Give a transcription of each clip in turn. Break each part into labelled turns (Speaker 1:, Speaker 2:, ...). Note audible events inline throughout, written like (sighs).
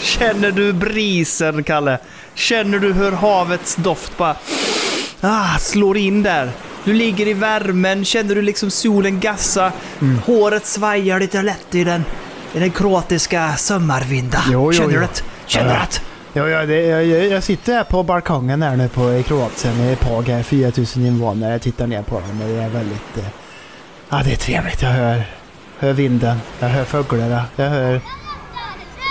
Speaker 1: Känner du brisen, Kalle? Känner du hur havets doft bara ah, slår in där? Du ligger i värmen, känner du liksom solen gassa?
Speaker 2: Mm.
Speaker 1: Håret svajar lite lätt i den, i den kroatiska sommarvinda.
Speaker 2: Jo, jo,
Speaker 1: känner du
Speaker 2: jo.
Speaker 1: det? Känner du
Speaker 2: Ja.
Speaker 1: det?
Speaker 2: Ja, ja, det, jag, jag jag sitter här på balkongen här nu på, i Kroatien i Pag här, 4000 invånare. Jag tittar ner på dem och det är väldigt... Eh, ja, det är trevligt. Jag hör, hör vinden, jag hör fåglarna, jag hör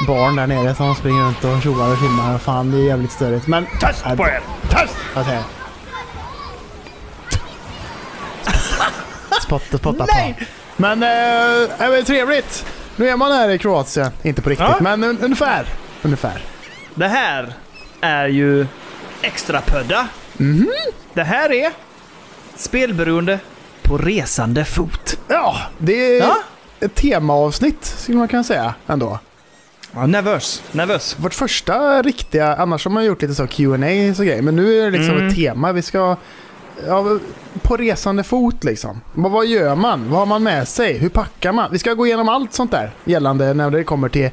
Speaker 2: barn där nere som springer runt och tjoar och tjimmar. Fan, det är jävligt störigt. Men... Töst på er! Töst! Vad säger jag? Spotta, spotta på. Men, eh, ja, men trevligt! Nu är man här i Kroatien. Inte på riktigt,
Speaker 1: Ja.
Speaker 2: men un, ungefär. Ungefär.
Speaker 1: Det här är ju extra pödda.
Speaker 2: Mhm.
Speaker 1: Det här är spelberoende på resande fot.
Speaker 2: Ja, det är
Speaker 1: Ja.
Speaker 2: ett temaavsnitt skulle man kunna säga ändå.
Speaker 1: Ja, nervös, nervös.
Speaker 2: Vårt första riktiga, annars har man gjort lite så Q&A och grejer, men nu är det liksom
Speaker 1: Mm.
Speaker 2: ett tema. Vi ska ja, på resande fot liksom. Vad, vad gör man? Vad har man med sig? Hur packar man? Vi ska gå igenom allt sånt där gällande när det kommer till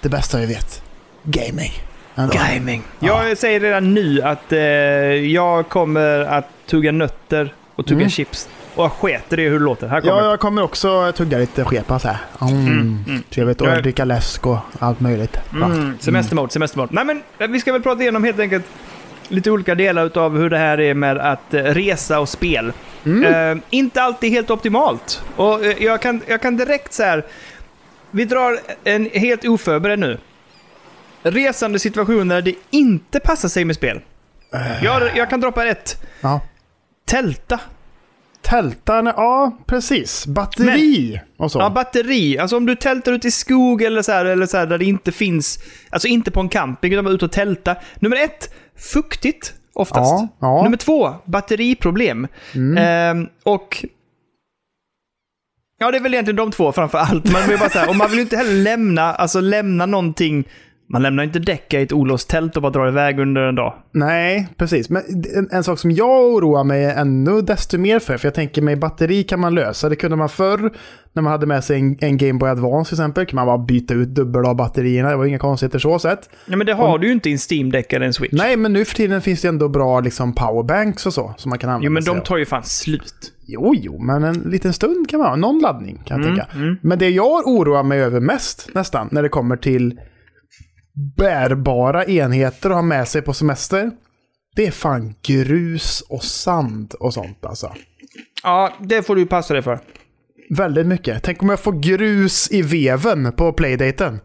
Speaker 2: det bästa vi vet. Gaming. Ändå.
Speaker 1: Gaming.
Speaker 2: Ja.
Speaker 1: Jag säger redan nu att eh, jag kommer att tugga nötter och tugga
Speaker 2: Mm.
Speaker 1: chips. Och jag sketer i hur det låter. Här kommer
Speaker 2: Ja,
Speaker 1: det.
Speaker 2: jag kommer också tugga lite skepa så här. Mm.
Speaker 1: Mm, mm.
Speaker 2: Trevligt.
Speaker 1: Jag-
Speaker 2: Och dricka läsk och allt möjligt. Bra.
Speaker 1: Mm. Semestermode, semestermode. Nej men eh, vi ska väl prata igenom helt enkelt lite olika delar utav hur det här är med att eh, resa och spel. Eh, inte alltid helt optimalt. Och eh, jag kan, jag kan direkt så här. Vi drar en helt oförberedd nu. Resande situationer där det inte passar sig med spel. Jag, jag kan droppa ett.
Speaker 2: Mm. Ja.
Speaker 1: Tälta.
Speaker 2: Tältan, ja precis. Batteri och så.
Speaker 1: Ja, batteri. Alltså om du tältar ute i skog eller så här, eller så här där det inte finns... Alltså inte på en camping, utan bara ute och tälta. Nummer ett, fuktigt oftast.
Speaker 2: Ja, ja. Mm.
Speaker 1: Nummer två, batteriproblem. Ehm, och... Ja, det är väl egentligen de två framför allt. Man vill bara så här, och man vill ju inte heller lämna, alltså lämna någonting... Man lämnar ju inte däcka i ett olåst tält och bara drar iväg under en dag.
Speaker 2: Nej, precis. Men en, en sak som jag oroar mig ännu desto mer för, för jag tänker mig batteri kan man lösa. Det kunde man förr när man hade med sig en, en Game Boy Advance till exempel. kan man bara byta ut dubbel av batterierna. Det var inga konstigheter så sett.
Speaker 1: Ja, men det har du ju inte i en Steam-däck eller en Switch.
Speaker 2: Nej, men nu för tiden finns det ändå bra liksom, powerbanks och så som man kan använda
Speaker 1: Jo, men
Speaker 2: sig
Speaker 1: de
Speaker 2: av.
Speaker 1: tar ju fan slut.
Speaker 2: Jo, jo, men en liten stund kan man ha. Någon laddning kan jag tänka. Men det jag oroar mig över mest nästan när det kommer till bärbara enheter att ha med sig på semester. Det är fan grus och sand och sånt alltså.
Speaker 1: Ja, det får du passa dig för.
Speaker 2: Väldigt mycket. Tänk om jag får grus i veven på playdaten.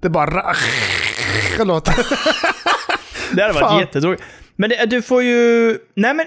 Speaker 2: Det bara... (laughs) ra- låter.
Speaker 1: Det hade varit
Speaker 2: Fan.
Speaker 1: jättetråkigt. Men det, du får ju... Nej men...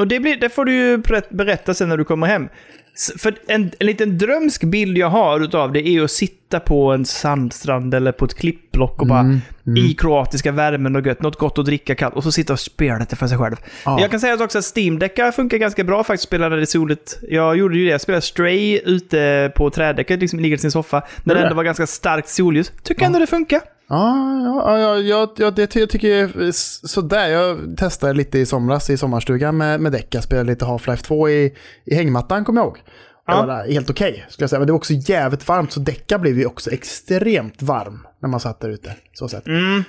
Speaker 1: Och det, blir, det får du ju berätt- berätta sen när du kommer hem. S- För en, en liten drömsk bild jag har utav det är ju att sitta på en sandstrand eller på ett klippblock och bara
Speaker 2: Mm.
Speaker 1: i kroatiska värmen och gött, något gott att dricka kallt och så sitta och spela lite för sig själv.
Speaker 2: Ja.
Speaker 1: Jag kan säga också att steam funkar ganska bra faktiskt att spela när det är soligt. Jag gjorde ju det, jag spelade Stray ute på trädäcket, liksom ligger i sin soffa, när det
Speaker 2: det?
Speaker 1: ändå var ganska starkt solljus. Tycker ändå det funkar.
Speaker 2: Ja, ja, ja, ja, ja det ty- jag tycker s- sådär. Jag testade lite i somras i sommarstugan med, med däck. Jag spelade lite Half-Life 2 i, i hängmattan kommer jag ihåg. Det
Speaker 1: Ja.
Speaker 2: var helt okej skulle jag säga. Men det var också jävligt varmt så däcka blev ju också extremt varm när man satt där ute. Så sett.
Speaker 1: Mm.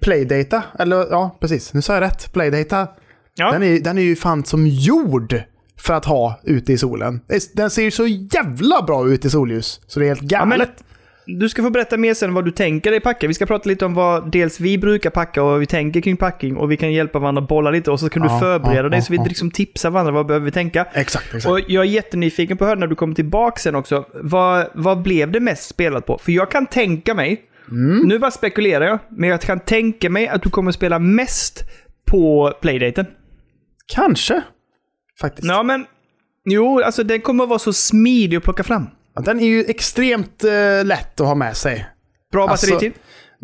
Speaker 2: Playdata, eller ja precis, nu sa jag rätt. Playdata,
Speaker 1: Ja.
Speaker 2: den, är, den är ju fan som gjord för att ha ute i solen. Den ser ju så jävla bra ut i solljus. Så det är helt
Speaker 1: Ja, men
Speaker 2: galet.
Speaker 1: du ska få berätta mer sen vad du tänker dig packa. Vi ska prata lite om vad dels vi brukar packa och vad vi tänker kring packing och vi kan hjälpa varandra att bolla lite och så kan du
Speaker 2: Ja,
Speaker 1: förbereda
Speaker 2: ja,
Speaker 1: dig
Speaker 2: ja,
Speaker 1: så vi
Speaker 2: ja.
Speaker 1: liksom tipsar varandra vad behöver vi tänka.
Speaker 2: Exakt, exakt.
Speaker 1: Och jag är jättenyfiken på att höra när du kommer tillbaka sen också. Vad, vad blev det mest spelat på? För jag kan tänka mig,
Speaker 2: Mm.
Speaker 1: nu bara spekulerar jag, men jag kan tänka mig att du kommer spela mest på playdaten.
Speaker 2: Kanske, faktiskt.
Speaker 1: Ja men, jo alltså den kommer att vara så smidig att plocka fram.
Speaker 2: Ja, Den är ju extremt eh, lätt att ha med sig.
Speaker 1: Bra
Speaker 2: Alltså,
Speaker 1: batteritid.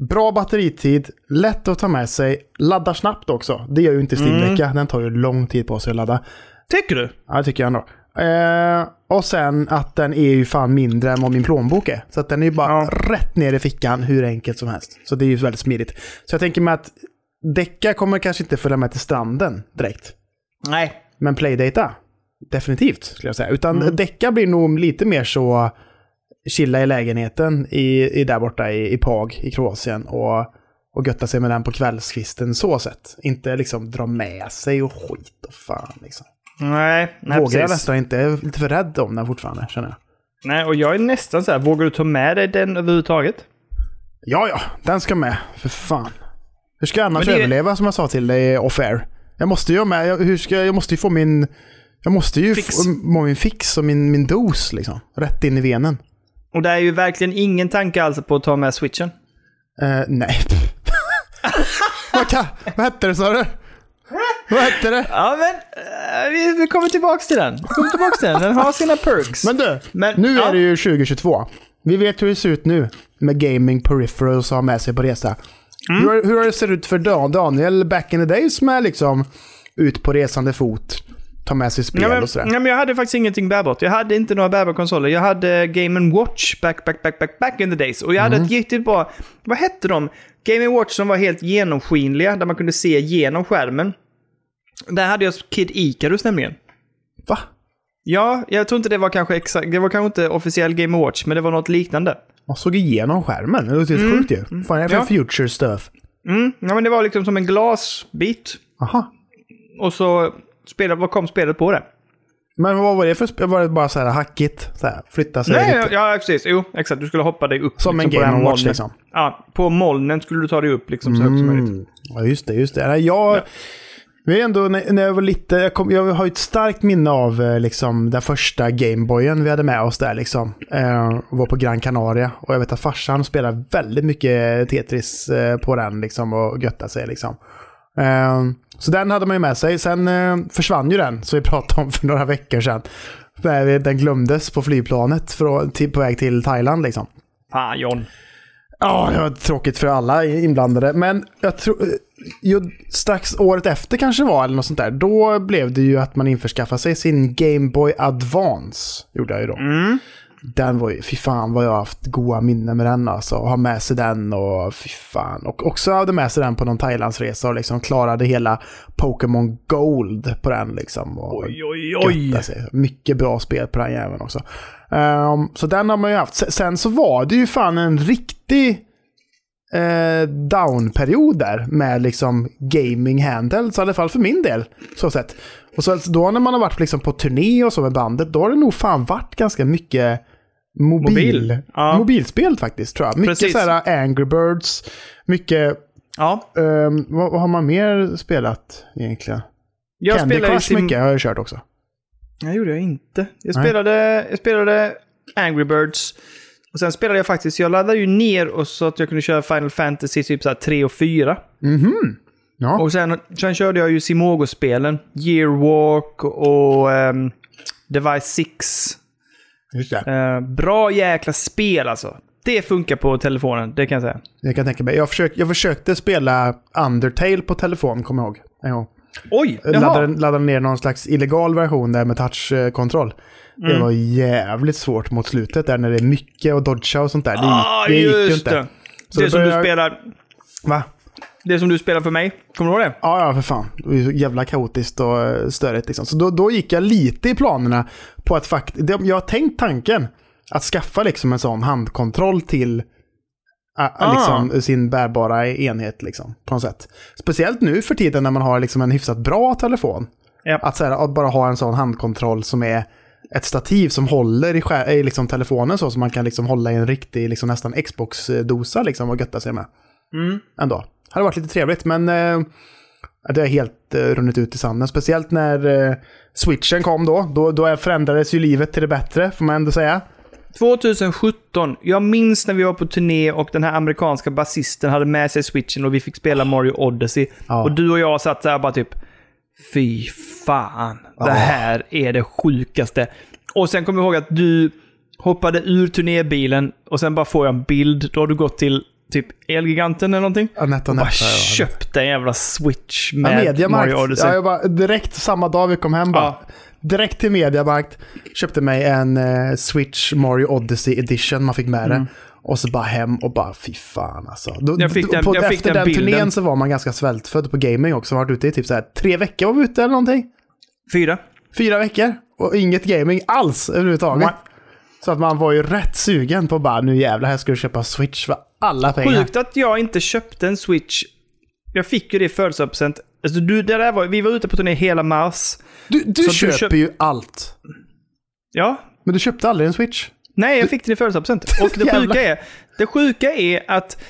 Speaker 2: Bra batteritid, lätt att ta med sig, laddar snabbt också. Det gör ju inte Steam-däcka, den tar ju lång tid på sig att ladda.
Speaker 1: Tycker du?
Speaker 2: Ja, det tycker jag ändå. Eh, och sen att den är ju fan mindre än vad min plånbok är. Så att den är ju bara
Speaker 1: Ja.
Speaker 2: rätt ner i fickan hur enkelt som helst. Så det är ju väldigt smidigt. Så jag tänker mig att däcka kommer kanske inte följa med till stranden direkt.
Speaker 1: Nej. Mm.
Speaker 2: Men playdata, definitivt skulle jag säga. Utan däcka blir nog lite mer så chilla i lägenheten i, i där borta i, i Pag i Kroatien och, och götta sig med den på kvällskvisten så sett. Inte liksom dra med sig och skit och fan liksom.
Speaker 1: Nej, nej,
Speaker 2: Vågar jag
Speaker 1: precis.
Speaker 2: nästan inte. Jag är lite för rädd om den fortfarande känner jag.
Speaker 1: nej, och jag är nästan så här, vågar du ta med dig den överhuvudtaget?
Speaker 2: Ja, ja, den ska med. För fan. Hur ska jag annars
Speaker 1: Men det är-
Speaker 2: överleva som jag sa till dig off air? Jag måste ju ha med, jag, hur ska, jag måste ju få min... Jag måste ju
Speaker 1: Fix.
Speaker 2: få må min fix och min, min dos liksom. Rätt in i venen.
Speaker 1: Och det är ju verkligen ingen tanke alls på att ta med switchen.
Speaker 2: Eh, nej. (laughs) vad, kan, vad hette det sa du? Vad hette det?
Speaker 1: Ja, men eh, vi, vi kommer tillbaks till den. Vi kommer tillbaks till den. Den har sina perks.
Speaker 2: Men du,
Speaker 1: Men-
Speaker 2: nu
Speaker 1: ja.
Speaker 2: är det ju 2022. Vi vet hur det ser ut nu med gaming peripherals att ha med sig på resa.
Speaker 1: Mm.
Speaker 2: Hur, har- hur har det sett ut för Dan- Daniel back in the days med liksom ut på resande fot, ta med sig spel
Speaker 1: Ja, men,
Speaker 2: och
Speaker 1: ja,
Speaker 2: sådär?
Speaker 1: men jag hade faktiskt ingenting bärbart. Jag hade inte några bärbara konsoler. Jag hade Game Watch back, back, back, back, back in the days. Och jag hade ett riktigt bra... Vad hette de? Game Watch som var helt genomskinliga, där man kunde se genom skärmen. Där hade jag Kid Icarus nämligen.
Speaker 2: Va?
Speaker 1: Ja, jag tror inte det var kanske exakt... Det var kanske inte officiell Game Watch, men det var något liknande.
Speaker 2: Man såg igenom skärmen. Det låter helt sjukt ju. Fan, är det för
Speaker 1: Mm. Ja.
Speaker 2: future stuff?
Speaker 1: Mm, ja, men det var liksom som en glasbit.
Speaker 2: Aha.
Speaker 1: Och så spelet, vad kom spelet på det?
Speaker 2: Men vad var det för spel? Var det bara så här hackigt? Så här, flytta sig
Speaker 1: Nej,
Speaker 2: lite?
Speaker 1: ja, ja, precis. Jo, exakt. Du skulle hoppa dig upp.
Speaker 2: Som en
Speaker 1: på den
Speaker 2: Game
Speaker 1: här
Speaker 2: Watch
Speaker 1: molnen.
Speaker 2: liksom.
Speaker 1: Ja, på molnen skulle du ta dig upp liksom, så högt som möjligt.
Speaker 2: Mm. Ja, just det. Just det. Nej, Jag, men ändå, när när jag var lite, jag, kom, jag har ju ett starkt minne av eh, liksom, den första Gameboyen vi hade med oss där. Liksom. Eh, var på Gran Canaria och jag vet att farsan spelade väldigt mycket Tetris eh, på den liksom, och göttade sig. Liksom. Eh, så den hade man ju med sig. Sen eh, försvann ju den, som vi (laughs) pratade om för några veckor sedan. Där vi- Den glömdes på flygplanet från, till, på väg till Thailand. Liksom.
Speaker 1: Fan, John.
Speaker 2: Ja, det var tråkigt för alla inblandade. Men jag tror... eh, Ju, strax året efter kanske det var, eller något sånt där. Då blev det ju att man införskaffade sig sin Game Boy Advance. Gjorde jag ju då.
Speaker 1: Mm.
Speaker 2: Den var ju, fy fan vad jag har haft goa minnen med den alltså. Ha med sig den och fy fan. Och också hade med sig den på någon Thailandsresa och liksom klarade hela Pokémon Gold på den liksom. Och
Speaker 1: Oj, oj,
Speaker 2: götta sig. Mycket bra spel på den jäveln också. Ehm, så den har man ju haft. Se- Sen så var det ju fan en riktig eh, down-period där med liksom gaming handles, i alla fall för min del. Så sett. Och så alltså, då när man har varit liksom på turné och så med bandet, då har det nog fan varit ganska mycket mobil,
Speaker 1: Mobil, ja.
Speaker 2: mobilspel faktiskt tror jag. Mycket
Speaker 1: Precis.
Speaker 2: så här uh, Angry Birds, mycket,
Speaker 1: Ja.
Speaker 2: ehm, vad, vad har man mer spelat egentligen?
Speaker 1: Jag
Speaker 2: Candy
Speaker 1: spelade
Speaker 2: Crush mycket har jag ju kört också.
Speaker 1: Nej, gjorde jag inte. Jag
Speaker 2: Nej.
Speaker 1: spelade, jag spelade Angry Birds. Och sen spelade jag faktiskt, jag laddade ju ner och så att jag kunde köra Final Fantasy typ så här 3 och 4.
Speaker 2: Mhm. Ja.
Speaker 1: Och sen, sen körde jag ju Simogo-spelen. Yearwalk och ehm, Device 6.
Speaker 2: Just det.
Speaker 1: Eh, bra jäkla spel alltså. Det funkar på telefonen, det kan jag säga.
Speaker 2: Jag kan tänka mig. Jag, försök, jag försökte spela Undertale på telefon, kommer jag ihåg. En gång.
Speaker 1: Oj!
Speaker 2: Jag Laddade, laddade ner någon slags illegal version där med touchkontroll. Det
Speaker 1: Mm.
Speaker 2: var jävligt svårt mot slutet där när det är mycket och dodga och sånt där. Det,
Speaker 1: Ah,
Speaker 2: gick- Mm, det gick ju
Speaker 1: just
Speaker 2: inte.
Speaker 1: det.
Speaker 2: Så
Speaker 1: det,
Speaker 2: då
Speaker 1: som du
Speaker 2: började-
Speaker 1: spelar,
Speaker 2: Va?
Speaker 1: det som du spelar för mig, kommer du ihåg det?
Speaker 2: Ja, ja, för fan. Det var ju så jävla kaotiskt och eh, störigt. Liksom. Så då, då gick jag lite i planerna på att faktiskt... Jag har tänkt tanken att skaffa liksom en sån handkontroll till a, a,
Speaker 1: Ah.
Speaker 2: liksom, sin bärbara enhet liksom, på något sätt. Speciellt nu för tiden när man har liksom en hyfsat bra telefon.
Speaker 1: Ja.
Speaker 2: Att, så här, att bara ha en sån handkontroll som är ett stativ som håller i, skär, i liksom telefonen så, så man kan liksom hålla i en riktig liksom, nästan Xbox-dosa liksom, och götta sig med Mm. ändå. Hade varit lite trevligt, men eh, det har helt eh, runnit ut i sanden. Speciellt när eh, switchen kom då. då. Då förändrades ju livet till det bättre, får man ändå säga.
Speaker 1: 2017, jag minns när vi var på turné och den här amerikanska basisten hade med sig switchen och vi fick spela Mario Odyssey.
Speaker 2: Ja.
Speaker 1: Och du och jag satt där och bara typ, fy fan, det här är det sjukaste. Och sen kommer jag ihåg att du hoppade ur turnébilen och sen bara får jag en bild. Då har du gått till typ Elgiganten eller någonting.
Speaker 2: Anette och
Speaker 1: Bara
Speaker 2: Anette, ja.
Speaker 1: köpt en jävla switch
Speaker 2: Ja,
Speaker 1: med Mario
Speaker 2: Mediamarkt.
Speaker 1: Odyssey.
Speaker 2: Ja, jag bara, direkt samma dag vi kom hem bara.
Speaker 1: Ja.
Speaker 2: Direkt till Mediamarkt. Köpte mig en eh, Switch Mario Odyssey Edition. Man fick med det. Och så bara hem och bara fy fan alltså. Då,
Speaker 1: Mm. Jag fick
Speaker 2: då-
Speaker 1: den-
Speaker 2: på,
Speaker 1: jag fick
Speaker 2: efter
Speaker 1: den
Speaker 2: den,
Speaker 1: bilden.
Speaker 2: turnén så var man ganska svältfödd på gaming också. Man har varit ute i typ så här, tre veckor var vi ute eller någonting.
Speaker 1: Fyra.
Speaker 2: Fyra veckor och inget gaming alls överhuvudtaget.
Speaker 1: Nej.
Speaker 2: Så att man var ju rätt sugen på bara nu jävlar här ska du köpa Switch för alla pengar.
Speaker 1: Sjukt att jag inte köpte en Switch. Jag fick ju det i födelsedagspresent. Alltså, du, det där var, vi var ute på turné hela mars.
Speaker 2: Du, du
Speaker 1: Så du
Speaker 2: köper
Speaker 1: köp-
Speaker 2: ju allt.
Speaker 1: Ja.
Speaker 2: Men du köpte aldrig en Switch.
Speaker 1: Nej, jag fick den i
Speaker 2: (laughs)
Speaker 1: födelsedagspresent. Och det
Speaker 2: Jävlar.
Speaker 1: sjuka är, det sjuka är att...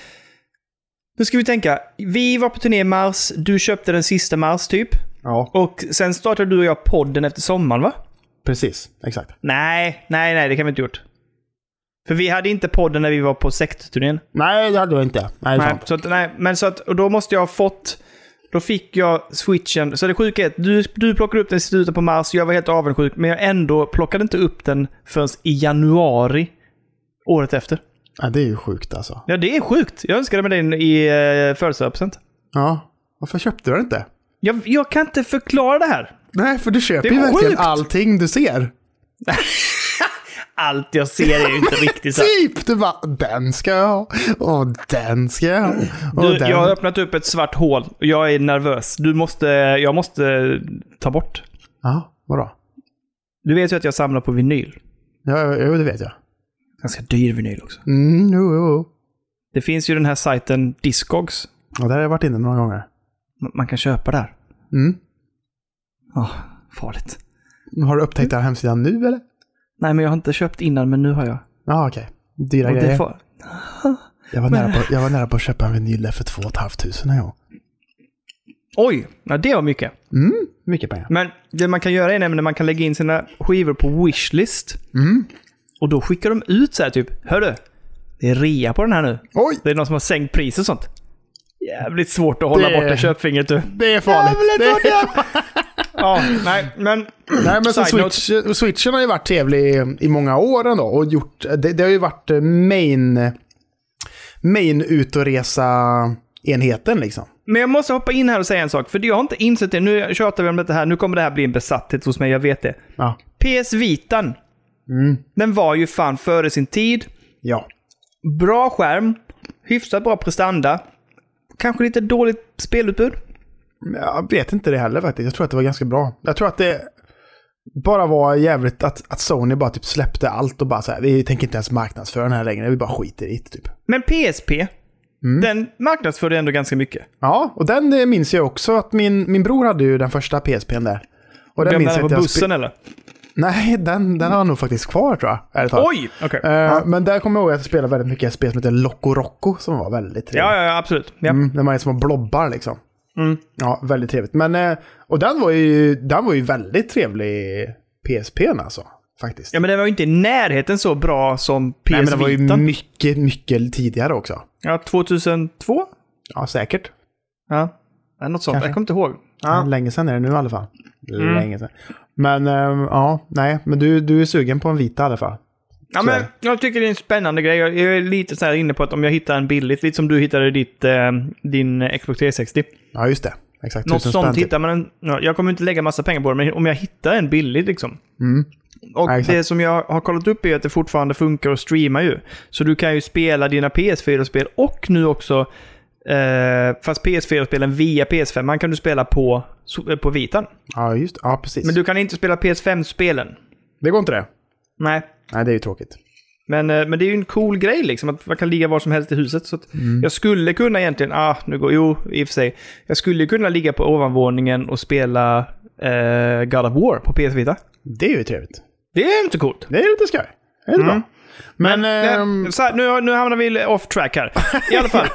Speaker 1: Nu ska vi tänka. Vi var på turné i mars, du köpte den sista mars typ.
Speaker 2: Ja,
Speaker 1: Och sen startade du och jag podden efter sommaren va?
Speaker 2: precis. Exakt.
Speaker 1: Nej, nej, nej, det kan vi inte gjort. För vi hade inte podden när vi var på sektturnén.
Speaker 2: Nej, det hade jag inte. Nej, det är
Speaker 1: Nej,
Speaker 2: sant.
Speaker 1: så att, nej, men så att, och då måste jag ha fått... Då fick jag switchen. Så det sjuka är att du, du plockade upp den i slutet på mars, jag var helt avundsjuk, men jag ändå plockade inte upp den förrän i januari året efter.
Speaker 2: Ja, det är ju sjukt alltså.
Speaker 1: Ja, det är sjukt. Jag önskade mig den i eh, födelsedagspresent.
Speaker 2: Ja. Varför köpte du den inte?
Speaker 1: Jag, jag kan inte förklara det här.
Speaker 2: Nej, för du köper
Speaker 1: Det är
Speaker 2: ju verkligen
Speaker 1: sjukt.
Speaker 2: allting du ser.
Speaker 1: Allt jag ser är ju inte riktigt så. här.
Speaker 2: Typ! Du bara, den ska jag ha. Och den ska jag ha.
Speaker 1: (laughs)
Speaker 2: Och
Speaker 1: Du,
Speaker 2: den.
Speaker 1: jag har öppnat upp ett svart hål och jag är nervös. Du måste, jag måste eh, ta bort.
Speaker 2: Ja, vadå?
Speaker 1: Du vet ju att jag samlar på vinyl.
Speaker 2: Ja, jo, det vet jag.
Speaker 1: Ganska dyr vinyl också.
Speaker 2: Mm, jo, jo, jo.
Speaker 1: Det finns ju den här sajten Discogs.
Speaker 2: Ja, där har jag varit inne några gånger.
Speaker 1: M- Man kan köpa där.
Speaker 2: Mm.
Speaker 1: Ja, farligt.
Speaker 2: Har du upptäckt den här hemsidan nu eller?
Speaker 1: Nej, men jag har inte köpt innan, men nu har jag.
Speaker 2: Ja, okej. Dyra
Speaker 1: Och
Speaker 2: grejer.
Speaker 1: det får...
Speaker 2: Jag, var nära på, jag var nära på att köpa en vinyl där för 2 500 en gång.
Speaker 1: Oj, ja, det var mycket.
Speaker 2: Mm, mycket pengar.
Speaker 1: Men det man kan göra är nämligen att man kan lägga in sina skivor på wishlist.
Speaker 2: Mm.
Speaker 1: Och då skickar de ut så här typ, hörru, det är rea på den här nu.
Speaker 2: Oj!
Speaker 1: Det är någon som har sänkt pris och sånt. Jävligt svårt att hålla
Speaker 2: Det-
Speaker 1: borta köpfingret du.
Speaker 2: Det är farligt. Det är
Speaker 1: (laughs) Ja, nej, men...
Speaker 2: Nej, men så
Speaker 1: Side note.
Speaker 2: Switch, Switchen har ju varit trevlig i många år ändå. Och gjort, det, det har ju varit eh, main, main ut och resa enheten liksom.
Speaker 1: Men jag måste hoppa in här och säga en sak, för jag har inte insett det. Nu tjatar vi om det här, nu kommer det här bli en besatthet hos mig, jag vet det.
Speaker 2: Ja.
Speaker 1: PS Vitan,
Speaker 2: Mm.
Speaker 1: den var ju fan före sin tid.
Speaker 2: ja.
Speaker 1: Bra skärm, hyfsat bra prestanda. Kanske lite dåligt spelutbud.
Speaker 2: Jag vet inte det heller faktiskt. Jag tror att det var ganska bra. Jag tror att det bara var jävligt att, att Sony bara typ släppte allt och bara så här, vi tänker inte ens marknadsföra den här längre, vi bara skiter i det typ.
Speaker 1: Men PSP,
Speaker 2: Mm.
Speaker 1: den marknadsförde ändå ganska mycket.
Speaker 2: Ja, och den eh, minns jag också att min, min bror hade ju den första PSPn där. Och den
Speaker 1: Den
Speaker 2: minns
Speaker 1: där
Speaker 2: jag
Speaker 1: på
Speaker 2: att jag spe-
Speaker 1: bussen eller?
Speaker 2: Nej, den, den har jag nog faktiskt kvar tror jag. ärligt talat.
Speaker 1: Oj! Okej.
Speaker 2: Eh, Men där kommer jag ihåg att jag spelade väldigt mycket spel som heter Loco Rocco som var väldigt trevligt.
Speaker 1: Ja, ja, ja, absolut. Ja.
Speaker 2: Mm, när man är små blobbar liksom.
Speaker 1: Mm.
Speaker 2: Ja, väldigt trevligt. Men, eh, och den var, ju, den var ju väldigt trevlig, PSP'n alltså. Faktiskt.
Speaker 1: ja, men den var ju inte i närheten så bra som PS
Speaker 2: Nej, men den var ju
Speaker 1: Vita.
Speaker 2: mycket, mycket tidigare också.
Speaker 1: Ja, 2002?
Speaker 2: Ja, säkert.
Speaker 1: Ja. ja något sånt.
Speaker 2: Kanske.
Speaker 1: Jag kommer inte ihåg.
Speaker 2: Ja. Länge sedan är det nu i alla fall.
Speaker 1: Mm.
Speaker 2: Länge sedan. Men eh, ja, nej, men du, du är sugen på en vita i alla fall.
Speaker 1: Ja,
Speaker 2: Så är
Speaker 1: men
Speaker 2: det.
Speaker 1: jag tycker det är en spännande grej. Jag jag är lite så här inne på att om jag hittar en billigt, lite som du hittade ditt, eh, din eh, Xbox 360.
Speaker 2: Ja, just det. Exakt.
Speaker 1: Något
Speaker 2: tusen
Speaker 1: sånt
Speaker 2: spänn typ.
Speaker 1: hittar man en, ja, Jag kommer inte lägga massa pengar på det, men om jag hittar en billig liksom.
Speaker 2: Mm.
Speaker 1: Och
Speaker 2: Ja, exakt.
Speaker 1: det som jag har kollat upp är att det fortfarande funkar att streama ju. Så du kan ju spela dina PS4-spel och nu också, eh, fast PS4-spelen via PS5 kan du spela på, so- eh, på vitan.
Speaker 2: Ja, just Ja, precis.
Speaker 1: Men du kan inte spela PS5-spelen.
Speaker 2: Det går inte det.
Speaker 1: Nej.
Speaker 2: Nej, det är ju tråkigt.
Speaker 1: Men, eh, men det är ju en cool grej liksom, att man kan ligga var som helst i huset. Så att Jag skulle kunna egentligen, ah, nu går, jo, i och för sig. Jag skulle kunna ligga på ovanvåningen och spela eh, God of War på PS Vita.
Speaker 2: Det är ju trevligt.
Speaker 1: Det är inte coolt.
Speaker 2: Det är lite skoj. Det är det
Speaker 1: Mm.
Speaker 2: bra. Men, ehm,
Speaker 1: Nej, så här, nu, nu hamnar vi off track här. I alla
Speaker 2: (laughs)
Speaker 1: fall.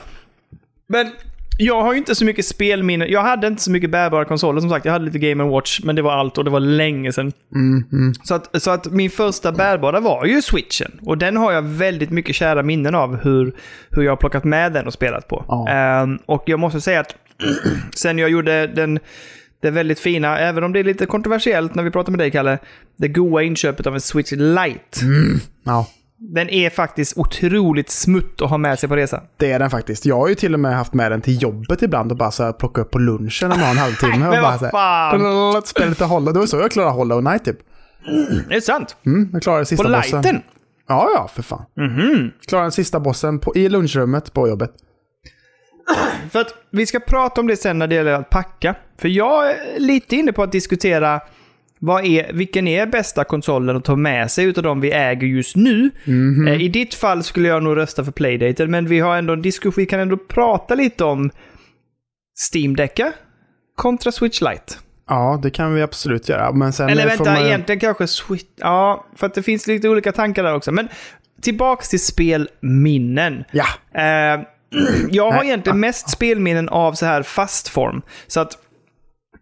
Speaker 1: men jag har ju inte så mycket spelminne. Jag hade inte så mycket bärbara konsoler som sagt. Jag hade lite Game Watch, men det var allt och det var länge sedan.
Speaker 2: Mm-hmm.
Speaker 1: Så, att, så att min första bärbara var ju switchen. Och den har jag väldigt mycket kära minnen av hur, hur jag har plockat med den och spelat på.
Speaker 2: Ja.
Speaker 1: Ehm, och jag måste säga att (clears throat) sen jag gjorde den, det väldigt fina, även om det är lite kontroversiellt när vi pratar med dig Kalle, det goa inköpet av en Switch Lite.
Speaker 2: ja,
Speaker 1: Den är faktiskt otroligt smutt att ha med sig på resa.
Speaker 2: det är den faktiskt. Jag har ju till och med haft med den till jobbet ibland och bara så här plocka upp på lunchen när man har
Speaker 1: (laughs)
Speaker 2: en halvtimme. och
Speaker 1: Men
Speaker 2: bara
Speaker 1: vad
Speaker 2: så (laughs)
Speaker 1: fan!
Speaker 2: här, spela lite Hollow. Det var så jag klarade Hollow Knight typ.
Speaker 1: Det är sant.
Speaker 2: Mm, jag klarade
Speaker 1: På
Speaker 2: sista bossen.
Speaker 1: lighten. Mhm.
Speaker 2: Ja, ja, för fan. Klarade den sista bossen på, i lunchrummet på jobbet.
Speaker 1: För att vi ska prata om det sen när det gäller att packa. För jag är lite inne på att diskutera vad är, vilken är bästa konsolen att ta med sig utav de vi äger just nu?
Speaker 2: Mhm.
Speaker 1: Eh, I ditt fall skulle jag nog rösta för Playdaten, men vi har ändå en diskussion, vi kan ändå prata lite om Steam Decka kontra Switch Lite.
Speaker 2: Ja, det kan vi absolut göra. Men sen
Speaker 1: Eller
Speaker 2: eh,
Speaker 1: vänta,
Speaker 2: får man...
Speaker 1: egentligen kanske Switch... Ja, för att det finns lite olika tankar där också. Men tillbaks till spelminnen.
Speaker 2: Ja,
Speaker 1: Eh, (clears throat) jag har
Speaker 2: Nej. Ah.
Speaker 1: egentligen mest spelminnen av så här fast form. Så att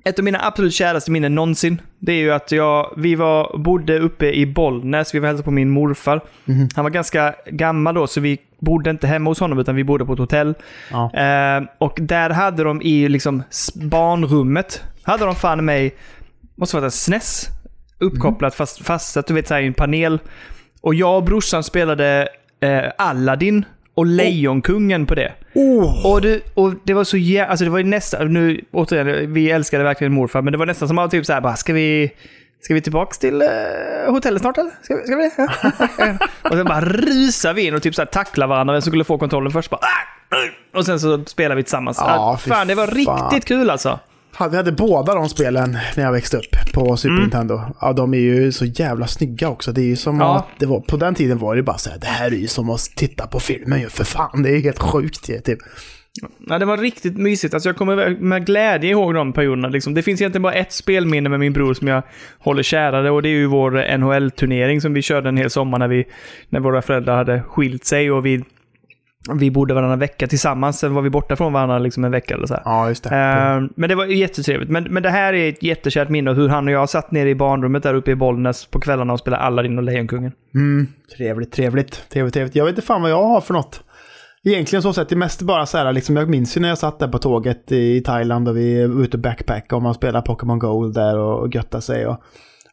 Speaker 1: ett av mina absolut käraste minnen någonsin, det är ju att jag, vi var, bodde uppe i Bollnäs, vi var och hälsade på min morfar.
Speaker 2: Mhm.
Speaker 1: Han var ganska gammal då, så vi bodde inte hemma hos honom, utan vi bodde på ett hotell.
Speaker 2: Ja.
Speaker 1: Eh, och där hade de i liksom s- barnrummet, hade de fan i mig, måste vara ett SNES, uppkopplat fast, fast att du vet så här i en panel. Och jag och brorsan spelade eh, Aladdin och Lejonkungen på det.
Speaker 2: Oh.
Speaker 1: Och, du, och det var så jävla... Alltså det var ju nästan... Nu återigen, vi älskade verkligen morfar, men det var nästan som att typ så här bara, ska vi... Ska vi tillbaka till eh, hotellet snart eller? Ska, vi- ska vi det? Ja. (laughs) och sen bara rusar vi in och typ så här tacklar varandra vem som skulle få kontrollen först. Bara, "Ah! Uh!" och sen så spelar vi tillsammans.
Speaker 2: Ja,
Speaker 1: Ah,
Speaker 2: fy
Speaker 1: fan, det var
Speaker 2: fan.
Speaker 1: riktigt kul alltså.
Speaker 2: Ha- vi hade båda de spelen när jag växte upp på Super
Speaker 1: Mm.
Speaker 2: Nintendo. Ja, de är ju så jävla snygga också. Det är ju som
Speaker 1: Ja.
Speaker 2: att det var, på den tiden var det bara så här, det här är ju som att titta på filmen ju för fan. Det är ju helt sjukt ju, typ.
Speaker 1: Ja, det var riktigt mysigt. Alltså, jag kommer med glädje ihåg de perioderna. Liksom. Det finns egentligen bara ett spelminne med min bror som jag håller kärare och det är ju vår NHL-turnering som vi körde en hel sommar när, vi, när våra föräldrar hade skilt sig och vi, vi bodde varannan vecka tillsammans. Sen var vi borta från varandra liksom en vecka eller så. Här.
Speaker 2: Ja, just det.
Speaker 1: Eh, men det var ju jättetrevligt. Men, men det här är ett jättekärt minne av hur han och jag satt nere i barnrummet där uppe i Bollnäs på kvällarna och spelade Aladdin och Lejonkungen.
Speaker 2: Mm, trevligt, trevligt, trevligt, trevligt. Jag vet inte fan vad jag har för något. Egentligen så sett, det är mest bara så här, liksom, jag minns ju när jag satt där på tåget i Thailand och vi var ute och backpackade och man spelade Pokémon Gold där och göttade sig och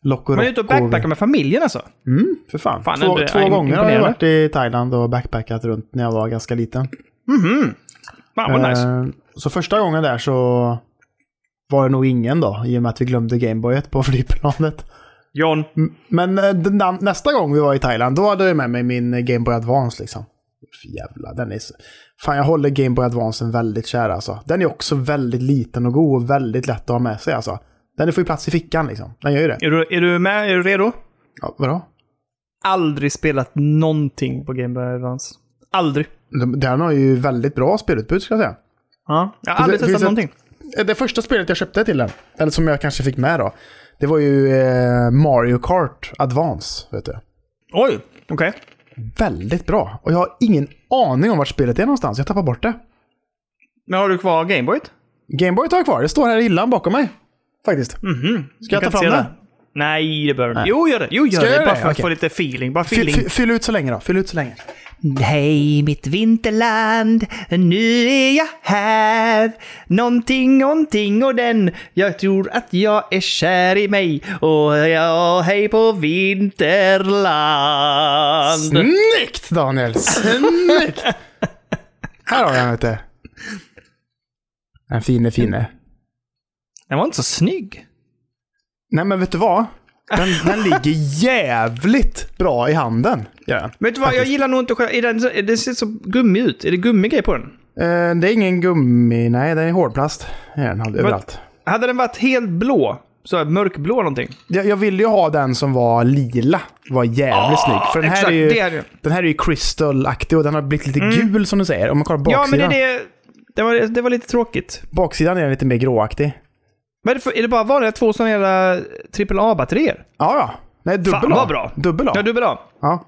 Speaker 2: Loco
Speaker 1: Man är ute och
Speaker 2: Roco.
Speaker 1: backpackar med familjen alltså.
Speaker 2: Mm, för fan.
Speaker 1: Fan,
Speaker 2: två
Speaker 1: det-
Speaker 2: två
Speaker 1: ja,
Speaker 2: gånger har jag
Speaker 1: imponerande.
Speaker 2: varit i Thailand och backpackat runt när jag var ganska liten.
Speaker 1: Fan vad nice.
Speaker 2: Eh, Så första gången där så var det nog ingen då, i och med att vi glömde Gameboyet på (laughs) flygplanet.
Speaker 1: John,
Speaker 2: M- Men eh, den- den- nästa gång vi var i Thailand, då hade jag med mig min eh, Game Boy Advance liksom. Fy Jävlar, den är så... Fan, jag håller Game Boy Advancen väldigt kär alltså. Den är också väldigt liten och god och väldigt lätt att ha med sig alltså. Den får ju plats i fickan liksom. Den gör ju det.
Speaker 1: är du, är du med? Är du redo?
Speaker 2: Ja, vadå?
Speaker 1: aldrig spelat någonting på Game Boy Advance. Aldrig.
Speaker 2: Den- Den har ju väldigt bra spelutbud ska jag säga.
Speaker 1: Ja. Jag har aldrig
Speaker 2: Det- det
Speaker 1: testat
Speaker 2: finns ett-
Speaker 1: någonting.
Speaker 2: Eh, Det första spelet jag köpte till den, eller som jag kanske fick med då, det var ju eh, Mario Kart Advance. Vet du.
Speaker 1: Oj, okej.
Speaker 2: Väldigt bra. Och jag har ingen aning om vart spelet är någonstans. Jag tappar bort det.
Speaker 1: Men har du kvar Gameboyt?
Speaker 2: Gameboy tar jag kvar. Det står här i hyllan bakom mig. Faktiskt.
Speaker 1: Mhm.
Speaker 2: Ska jag
Speaker 1: Du
Speaker 2: ta
Speaker 1: kan
Speaker 2: fram
Speaker 1: se
Speaker 2: den?
Speaker 1: Nej, det behöver du inte. Jo, gör det. Jo, gör
Speaker 2: Ska jag
Speaker 1: det.
Speaker 2: göra
Speaker 1: Bara
Speaker 2: det?
Speaker 1: för att
Speaker 2: Okej.
Speaker 1: få lite feeling. Bara
Speaker 2: Fyll,
Speaker 1: feeling.
Speaker 2: fyll, fyll ut så länge då. Fyll ut så länge.
Speaker 1: Hej mitt vinterland, nu är jag här. Någonting, någonting och den. Jag tror att jag är kär i mig. Och ja, hej på vinterland.
Speaker 2: Snyggt
Speaker 1: (laughs)
Speaker 2: Daniel! Snyggt! här har jag den vet du. En fine fine.
Speaker 1: Den var inte så snygg.
Speaker 2: Nej men vet du vad? Den, den ligger jävligt bra i handen. gör den.
Speaker 1: Men vet du vad, jag gillar nog inte själv... Är den, det ser så gummi ut. Är det gummigrej på den?
Speaker 2: Eh, det är ingen gummi, nej den är hårdplast. Det är Den hade överallt.
Speaker 1: Hade den varit helt blå, så här mörkblå någonting.
Speaker 2: Jag, jag ville ju ha den som var lila. Var jävligt
Speaker 1: Ah,
Speaker 2: snygg. För den här,
Speaker 1: exakt,
Speaker 2: är ju,
Speaker 1: det är det.
Speaker 2: den här är ju crystal-aktig och den har blivit lite gul som du säger. Om man kollar
Speaker 1: Ja,
Speaker 2: baksidan.
Speaker 1: men det, är det, det, var, det var lite tråkigt.
Speaker 2: Baksidan är lite mer gråaktig.
Speaker 1: Vad är det, för, är det bara vanliga två sådana jävla AAA-batterier?
Speaker 2: Ja, ja. Nej, dubbel
Speaker 1: Fan,
Speaker 2: A.
Speaker 1: vad bra.
Speaker 2: Dubbel A.
Speaker 1: Ja, du bra.
Speaker 2: Ja,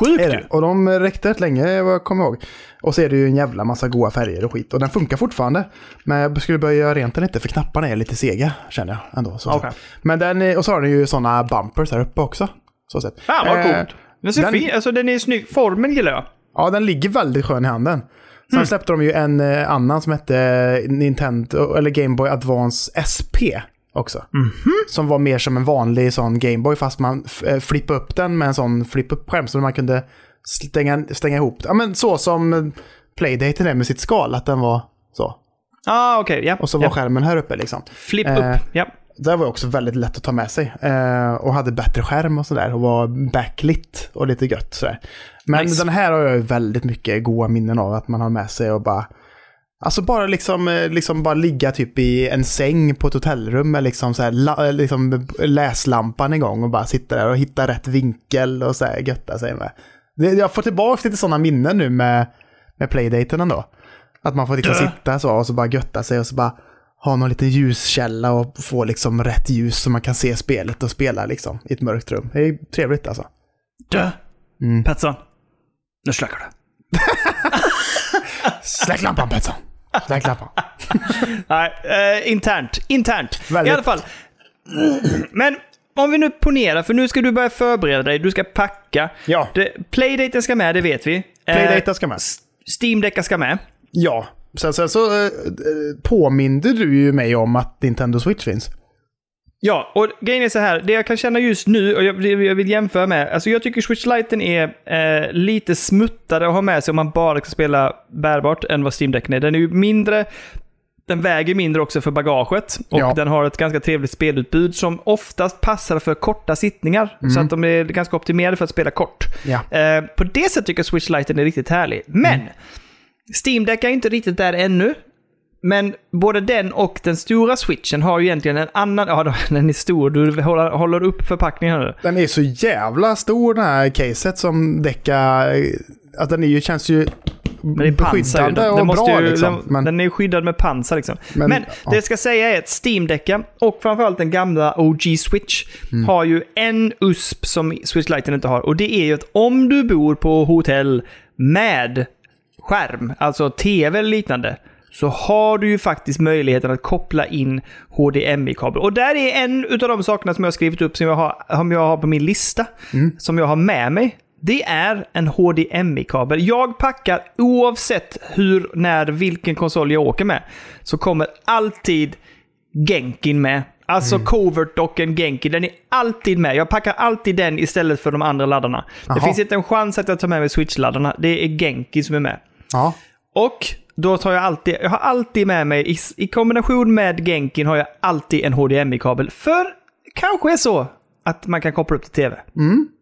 Speaker 1: Sjukt
Speaker 2: är det.
Speaker 1: ju.
Speaker 2: Och de räckte rätt länge vad jag kommer ihåg. Och så är det ju en jävla massa goa färger och skit. Och den funkar fortfarande. Men jag skulle börja göra rent den lite för knapparna är lite sega känner jag ändå. Så
Speaker 1: Okej.
Speaker 2: sett. Men den, är- och så har den ju sådana bumpers här uppe också. Så sett.
Speaker 1: Fan vad
Speaker 2: Eh,
Speaker 1: coolt. Den ser
Speaker 2: den-
Speaker 1: fin Alltså den är snygg. Formen gillar jag.
Speaker 2: Ja, den ligger väldigt skön i handen. Sen släppte de ju en eh, annan som hette eh, Nintendo, eller Game Boy Advance SP också. Som var mer som en vanlig sån Game Boy fast man f- eh, flippade upp den med en sån flip-up-skärm så man kunde stänga, stänga ihop. Ja, men så som eh, Playdaten är med sitt skal, att den var så.
Speaker 1: Ah, okej. ja.
Speaker 2: Och så var
Speaker 1: ja.
Speaker 2: skärmen här uppe liksom.
Speaker 1: Flipp
Speaker 2: eh,
Speaker 1: upp. Ja.
Speaker 2: Det var också väldigt lätt att ta med sig. Eh, och hade bättre skärm och sådär. Och var backlit och lite gött sådär. Men
Speaker 1: Nice.
Speaker 2: den här har jag ju väldigt mycket goa minnen av. Att man har med sig och bara... Alltså bara liksom, eh, liksom bara ligga typ i en säng på ett hotellrum med liksom så här, la, eh, liksom läslampan igång och bara sitta där och hitta rätt vinkel och så här götta sig med. Det- Jag får tillbaka lite sådana minnen nu med, med playdaten ändå. Att man får liksom
Speaker 1: Ja.
Speaker 2: sitta så och så bara götta sig och så bara ha någon liten ljuskälla och få liksom rätt ljus så man kan se spelet och spela liksom i ett mörkt rum. Det är trevligt alltså.
Speaker 1: Du,
Speaker 2: Mm.
Speaker 1: Petsson. Nu släcker du.
Speaker 2: Släck lampan Betsson! Släck lampan.
Speaker 1: Nej, eh, internt. Internt.
Speaker 2: Väldigt.
Speaker 1: I alla fall. Men om vi nu ponerar, för nu ska du börja förbereda dig, du ska packa.
Speaker 2: Ja,
Speaker 1: Det, playdaten ska med, det vet vi. Eh,
Speaker 2: playdaten ska med.
Speaker 1: Steam-däckar ska med.
Speaker 2: Ja, sen, sen så eh, eh, påminde du ju mig om att Nintendo Switch finns.
Speaker 1: Ja, och grejen är så här, det jag kan känna just nu, och jag, det jag vill jämföra med, alltså jag tycker Switch Liten är eh, lite smuttare att ha med sig om man bara ska spela bärbart än vad steam Decken är. Den är ju mindre, den väger mindre också för bagaget och
Speaker 2: Ja.
Speaker 1: den har ett ganska trevligt spelutbud som oftast passar för korta sittningar. Så att de är ganska optimerade för att spela kort.
Speaker 2: Ja.
Speaker 1: Eh, på det sättet tycker jag Switch Liten är riktigt härlig. Men
Speaker 2: Mm.
Speaker 1: Steam Deck är inte riktigt där ännu. Men både den och den stora switchen har ju egentligen en annan... Ja, (laughs) den är stor. Du håller, håller upp förpackningen här nu.
Speaker 2: Den är så jävla stor den här caset som Deca... Att den är ju, känns ju
Speaker 1: Men det är pansar ju.
Speaker 2: beskyddande och
Speaker 1: måste
Speaker 2: bra
Speaker 1: ju-
Speaker 2: liksom.
Speaker 1: den,
Speaker 2: men,
Speaker 1: den är ju skyddad med pansar liksom.
Speaker 2: Men-
Speaker 1: Men,
Speaker 2: ja.
Speaker 1: det jag ska säga är att steam Decken och framförallt den gamla OG Switch
Speaker 2: Mm.
Speaker 1: har ju en USP som Switch Lite inte har. Och det är ju att om du bor på hotell med skärm, alltså tv eller liknande, så har du ju faktiskt möjligheten att koppla in HDMI-kabel. Och där är en av de sakerna som jag har skrivit upp som jag har, som jag har på min lista, som jag har med mig. Det är en HDMI-kabel. Jag packar oavsett hur, när, vilken konsol jag åker med. Så kommer alltid Genkin med. Alltså covert-docken Genkin, den är alltid med. Jag packar alltid den istället för de andra laddarna. Det
Speaker 2: Jaha.
Speaker 1: finns inte en chans att jag tar med mig Switch-laddarna. Det är Genkin som är med.
Speaker 2: ja.
Speaker 1: Och då tar jag alltid, jag har alltid med mig, i, i kombination med Genkin har jag alltid en HDMI-kabel. För kanske är så att man kan koppla upp till tv.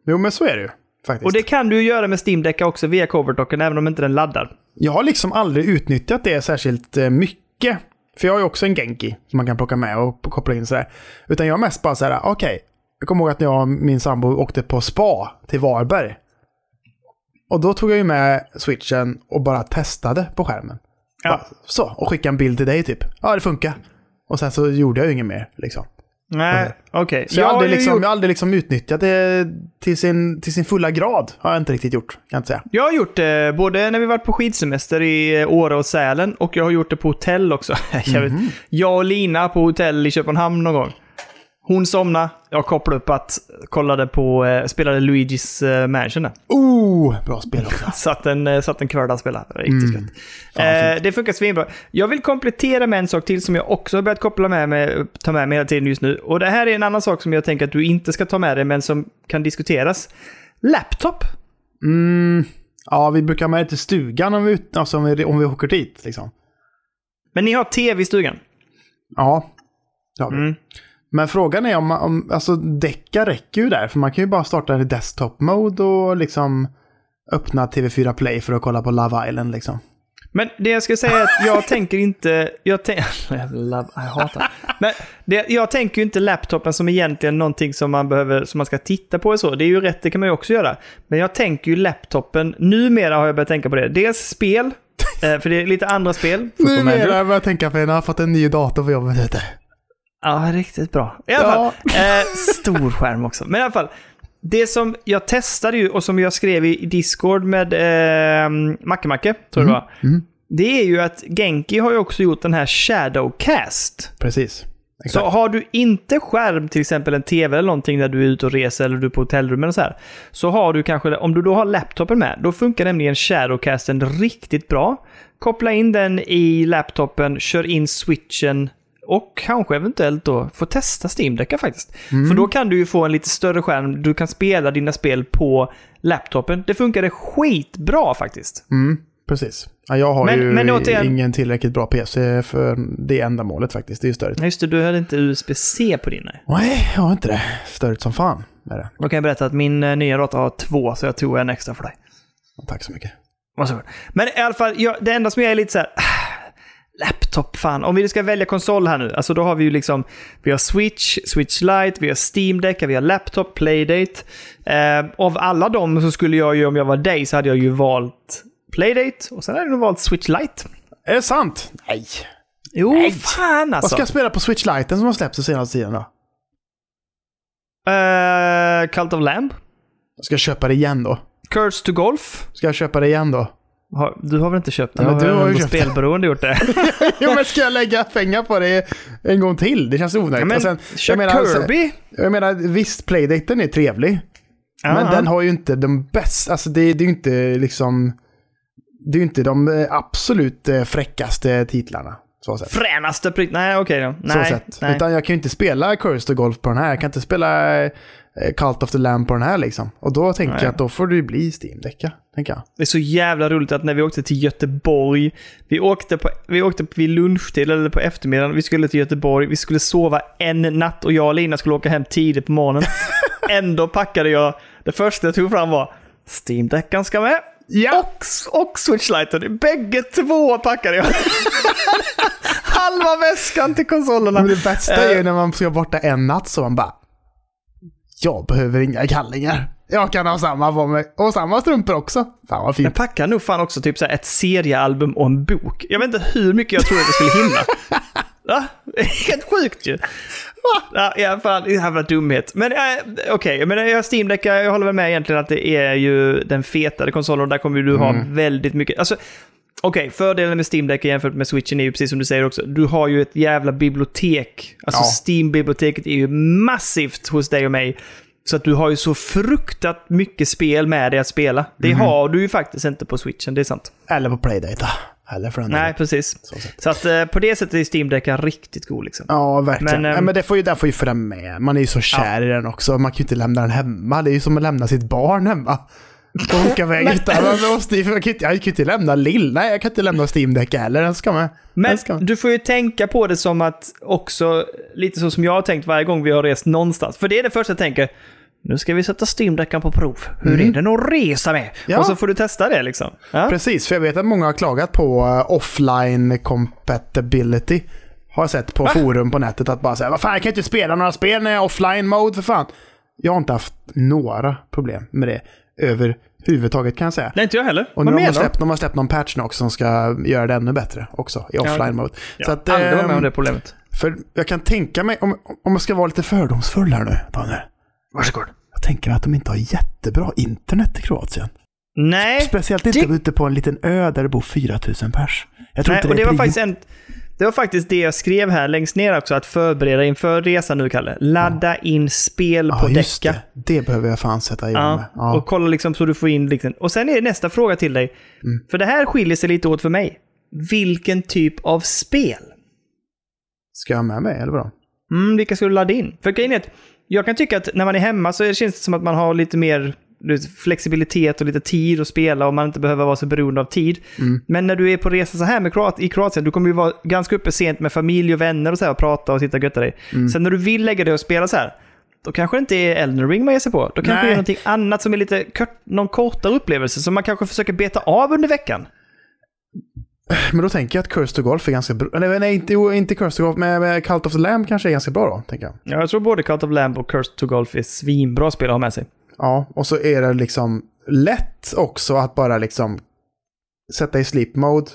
Speaker 2: Jo men så är det ju faktiskt.
Speaker 1: Och det kan du ju göra med steam Deck också via coverdocken, även om inte den laddar.
Speaker 2: Jag har liksom aldrig utnyttjat det särskilt eh, mycket. För jag har ju också en Genki som man kan plocka med och koppla in sådär. Utan jag har mest bara såhär, okej. jag kommer ihåg att när jag och min sambo åkte på spa till Varberg. Och då tog jag ju med switchen och bara testade på skärmen.
Speaker 1: Ja.
Speaker 2: Bara, så, och skickade en bild till dig typ. Ja, det funkar. Och sen så gjorde jag ju inget mer liksom.
Speaker 1: Nej, okej.
Speaker 2: Så jag, har aldrig,
Speaker 1: ju
Speaker 2: liksom,
Speaker 1: gjort-
Speaker 2: jag har aldrig liksom utnyttjat det till sin, till sin fulla grad. Har jag inte riktigt gjort, kan jag inte säga.
Speaker 1: Jag har gjort det både när vi varit på skidsemester i eh, Åre och Sälen och jag har gjort det på hotell också. (laughs) Jag, vet,
Speaker 2: Mhm.
Speaker 1: jag och Lina på hotell i Köpenhamn någon gång. Hon somnade, jag kopplade upp att kollade på, eh, spelade Luigi's eh, Mansion. där.
Speaker 2: Oh, bra spel också.
Speaker 1: Satt en, eh, satt en kväll och spelade. Det var Riktigt
Speaker 2: Mm.
Speaker 1: gött.
Speaker 2: Fan,
Speaker 1: eh, det funkar svinbra. Jag vill komplettera med en sak till som jag också har börjat koppla med mig, ta med mig hela tiden just nu. Och det här är en annan sak som jag tänker att du inte ska ta med dig, men som kan diskuteras. Laptop.
Speaker 2: Mm, ja, vi brukar ha med det till stugan om vi, ut- alltså om vi, om vi åker dit. Liksom.
Speaker 1: Men ni har tv i stugan.
Speaker 2: Ja, det har vi.
Speaker 1: Mm.
Speaker 2: Men frågan är om, man- om alltså, däcka räcker ju där. För man kan ju bara starta i desktop mode och liksom öppna TV4 Play för att kolla på Love Island. Liksom.
Speaker 1: Men det jag ska säga är att jag tänker inte... Jag, tän- (laughs) Jävla- jag hatar Men det, Jag tänker ju inte laptopen som egentligen någonting som man behöver, som man ska titta på och så. Det är ju rätt, det kan man ju också göra. Men jag tänker ju laptopen, numera har jag börjat tänka på det. Dels spel, (laughs) eh, för det är lite andra spel. Football
Speaker 2: Nu
Speaker 1: Manager.
Speaker 2: börjar jag tänka på det. Jag har fått en ny dator på jobbet. Vet du.
Speaker 1: Ja, riktigt bra. I alla
Speaker 2: Ja.
Speaker 1: fall, eh, stor skärm också. Men i alla fall, det som jag testade ju och som jag skrev i Discord med eh, Macke-Macke, tror jag det var.
Speaker 2: Mm,
Speaker 1: Det är ju att Genki har ju också gjort den här Shadowcast.
Speaker 2: precis.
Speaker 1: Så
Speaker 2: Exakt.
Speaker 1: har du inte skärm, till exempel en tv eller någonting där du är ute och reser eller du är på hotellrummen och så här. Så har du kanske, om du då har laptopen med, då funkar nämligen Shadowcasten riktigt bra. Koppla in den i laptopen, kör in switchen och kanske eventuellt då få testa steam Decka faktiskt. För då kan du ju få en lite större skärm, du kan spela dina spel på laptopen. Det funkade skitbra faktiskt.
Speaker 2: Mm, precis. Ja, jag har
Speaker 1: Men-
Speaker 2: ju
Speaker 1: men återigen-
Speaker 2: ingen tillräckligt bra PC för det ändamålet faktiskt. Det är ju störigt.
Speaker 1: Ja, Just det, du hade inte USB-C på din. nej.
Speaker 2: Nej, jag har inte det. Störigt som fan är det.
Speaker 1: Då kan jag berätta att min eh, nya dator har två, så jag tog en extra för dig.
Speaker 2: Tack så mycket.
Speaker 1: Varsågod. Men i alla fall, jag, det enda som jag är lite så här... (sighs) "Ah, Laptop, fan. Om vi ska välja konsol här nu, alltså då har vi ju liksom... Vi har Switch, Switch Lite, vi har Steam Deck, vi har Laptop, Playdate. Eh, av alla dem så skulle jag ju, om jag var dig, så hade jag ju valt Playdate och sen hade jag nog valt Switch Lite.
Speaker 2: Är det sant? Nej.
Speaker 1: Jo,
Speaker 2: Nej.
Speaker 1: fan
Speaker 2: Vad
Speaker 1: alltså!
Speaker 2: ska jag spela på Switch Lite som har släppts den senaste tiden då?
Speaker 1: Eh, Cult of Lamb,
Speaker 2: Ska jag köpa det igen då?
Speaker 1: Curse to Golf.
Speaker 2: Ska jag köpa det igen då? (laughs)
Speaker 1: Har, du har väl inte köpt den?
Speaker 2: Ja, men du
Speaker 1: Har
Speaker 2: har ju
Speaker 1: något
Speaker 2: köpt den.
Speaker 1: spelberoende
Speaker 2: (laughs)
Speaker 1: gjort det?
Speaker 2: Jo men ska jag lägga pengar på det en gång till? Det känns onödigt.
Speaker 1: Ja, men,
Speaker 2: Och sen,
Speaker 1: kör
Speaker 2: menar, alltså-
Speaker 1: Kirby!
Speaker 2: Jag menar visst, Playdaten är trevlig. Men
Speaker 1: Ja.
Speaker 2: den har ju inte de bästa, alltså det, det är ju inte liksom... Det är ju inte de eh, absolut eh, fräckaste titlarna. Så sett.
Speaker 1: Fränaste prytt... Nej, okej då.
Speaker 2: så
Speaker 1: Nej,
Speaker 2: sett.
Speaker 1: nej.
Speaker 2: Utan jag kan ju inte spela Curse to Golf på den här. Jag kan inte spela eh, Cult of the Lamb på den här liksom. Och då tänker
Speaker 1: Nej.
Speaker 2: jag att då får du bli Steam-däcka. Tänker jag.
Speaker 1: Det är så jävla roligt att när vi åkte till Göteborg, vi åkte, på, vi åkte vid lunchtid eller på eftermiddagen, vi skulle till Göteborg, vi skulle sova en natt och jag och Lina skulle åka hem tidigt på
Speaker 2: (laughs)
Speaker 1: morgonen. Ändå packade jag, det första jag tog fram var steam deckan ska med.
Speaker 2: Ja!
Speaker 1: Och, och switchlighten, bägge två packade
Speaker 2: (laughs)
Speaker 1: jag. Halva väskan till konsolerna.
Speaker 2: Men det bästa är ju
Speaker 1: Eh.
Speaker 2: när man ska vara borta en natt så man bara... Jag behöver inga kallingar. Jag kan ha samma på mig. Och samma strumpor också. Fan vad fint.
Speaker 1: Jag packade nog fan också typ så här ett seriealbum och en bok. Jag vet inte hur mycket jag trodde att jag skulle hinna. Va? Helt sjukt ju. Ja, ja, fan, jävla dumhet. Men äh, okej, okay, jag steam Deck, jag håller väl med egentligen att det är ju den fetare konsolen och där kommer ju du ha väldigt mycket. Alltså, Okej, fördelen med Steam Deck jämfört med Switchen är ju precis som du säger också, du har ju ett jävla bibliotek. Alltså
Speaker 2: Ja.
Speaker 1: Steam-biblioteket är ju massivt hos dig och mig. Så att du har ju så fruktat mycket spel med dig att spela. Det
Speaker 2: Mhm.
Speaker 1: har du ju faktiskt inte på Switchen, det är sant.
Speaker 2: Eller på Playdate. Eller för den delen.
Speaker 1: Nej, precis.
Speaker 2: Så sett.
Speaker 1: Så att eh, på det sättet är Steam Deck riktigt god liksom.
Speaker 2: Ja, verkligen.
Speaker 1: Men,
Speaker 2: Men,
Speaker 1: ehm,
Speaker 2: men det får ju, där får ju följa med. Man är ju så kär i den också. Man kan ju inte lämna den hemma. Det är ju som att lämna sitt barn hemma. Och åka iväg utan. Man måste, ju- jag, kan ju inte, jag kan ju inte lämna Lill. Nej, jag kan inte lämna Steam-däck heller. Den ska med.
Speaker 1: Men
Speaker 2: den ska med.
Speaker 1: du får ju tänka på det som att också, lite så som jag har tänkt varje gång vi har rest någonstans. För det är det första jag tänker, nu ska vi sätta Steam-deckan på prov. Hur är den att resa med?
Speaker 2: Mm. Ja.
Speaker 1: Och så får du testa det liksom. Ja.
Speaker 2: Precis, för jag vet att många har klagat på eh, offline compatibility. Har jag sett på forum på nätet att bara säga vad fan jag kan inte spela några spel när jag är offline mode för fan. Jag har inte haft några problem med det överhuvudtaget kan jag säga.
Speaker 1: Nej, inte jag heller.
Speaker 2: Och nu
Speaker 1: Vad
Speaker 2: har
Speaker 1: menar
Speaker 2: man,
Speaker 1: du?
Speaker 2: släppt, de har släppt någon patch nu också som ska göra det ännu bättre också i offline mode.
Speaker 1: Ja,
Speaker 2: Så att,
Speaker 1: aldrig var med om
Speaker 2: ehm,
Speaker 1: det problemet.
Speaker 2: för jag kan tänka mig, om, om jag ska vara lite fördomsfull här nu, Daniel.
Speaker 1: Varsågod.
Speaker 2: Jag tänker mig att de inte har jättebra internet i Kroatien.
Speaker 1: Nej,
Speaker 2: Speciellt inte
Speaker 1: det-
Speaker 2: ute på en liten ö där det bor 4000 pers. Jag tror
Speaker 1: nej
Speaker 2: inte
Speaker 1: och
Speaker 2: det
Speaker 1: det
Speaker 2: är
Speaker 1: var,
Speaker 2: prio.
Speaker 1: faktiskt en, det var faktiskt det jag skrev här längst ner också, att förbereda inför resan nu, Kalle. Ladda in spel
Speaker 2: ja,
Speaker 1: på
Speaker 2: just
Speaker 1: däcka.
Speaker 2: det. det behöver jag fan sätta igång
Speaker 1: Ja,
Speaker 2: med. Ja.
Speaker 1: Och kolla liksom så du får in... Liksom. Och sen är det nästa fråga till dig. För det här skiljer sig lite åt för mig. Vilken typ av spel?
Speaker 2: Ska jag ha med mig eller vadå?
Speaker 1: Mm, vilka ska du ladda in? För grejen är att jag kan tycka att när man är hemma så känns det som att man har lite mer du vet, flexibilitet och lite tid att spela och man inte behöver vara så beroende av tid. Men när du är på resa så här med Kroat i Kroatien, du kommer ju vara ganska uppe sent med familj och vänner och så här och prata och sitta och götta dig. Sen när du vill lägga dig och spela så här, då kanske det inte är Elden Ring man ger sig på. Då kanske
Speaker 2: Nej.
Speaker 1: det är någonting annat som är lite kort, någon kortare upplevelse som man kanske försöker beta av under veckan.
Speaker 2: Men då tänker jag att Curse to Golf är ganska bra. Eller nej, inte, jo, inte Curse to Golf, men men Cult of the Lamb kanske är ganska bra då, tänker jag.
Speaker 1: Ja, jag tror både Cult of Lamb och Cursed to Golf är svinbra spel att ha med sig.
Speaker 2: Ja, och så är det liksom lätt också att bara liksom sätta i sleep mode,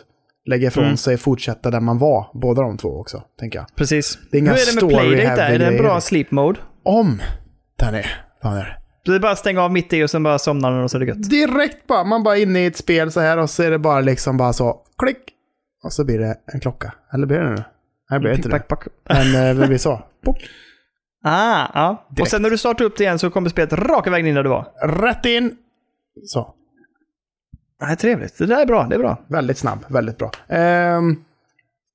Speaker 2: lägga ifrån
Speaker 1: Mm.
Speaker 2: sig, fortsätta där man var. Båda de två också, tänker jag.
Speaker 1: Precis.
Speaker 2: Det är inga
Speaker 1: Hur är det med
Speaker 2: story
Speaker 1: Playdate där?
Speaker 2: heavy
Speaker 1: Är det en bra
Speaker 2: grejer.
Speaker 1: sleep mode?
Speaker 2: Om den är, den är.
Speaker 1: Du bara stänga av mitt i och sen bara somnar den och så är det gött.
Speaker 2: Direkt bara, man bara är inne i ett spel så här och så är det bara liksom bara så, klick! Och så blir det en klocka. Eller blir det nu? Nej, det blir det inte nu.
Speaker 1: Pick, pack, pack.
Speaker 2: Men eh, det blir så. Pop.
Speaker 1: (laughs) Ah, ja. Och
Speaker 2: Direkt.
Speaker 1: sen när du startar upp det igen så kommer spelet raka vägen in där du var.
Speaker 2: Rätt in! Så.
Speaker 1: Nej, trevligt. Det där är bra. Det är bra.
Speaker 2: Väldigt snabb, väldigt bra. Ehm,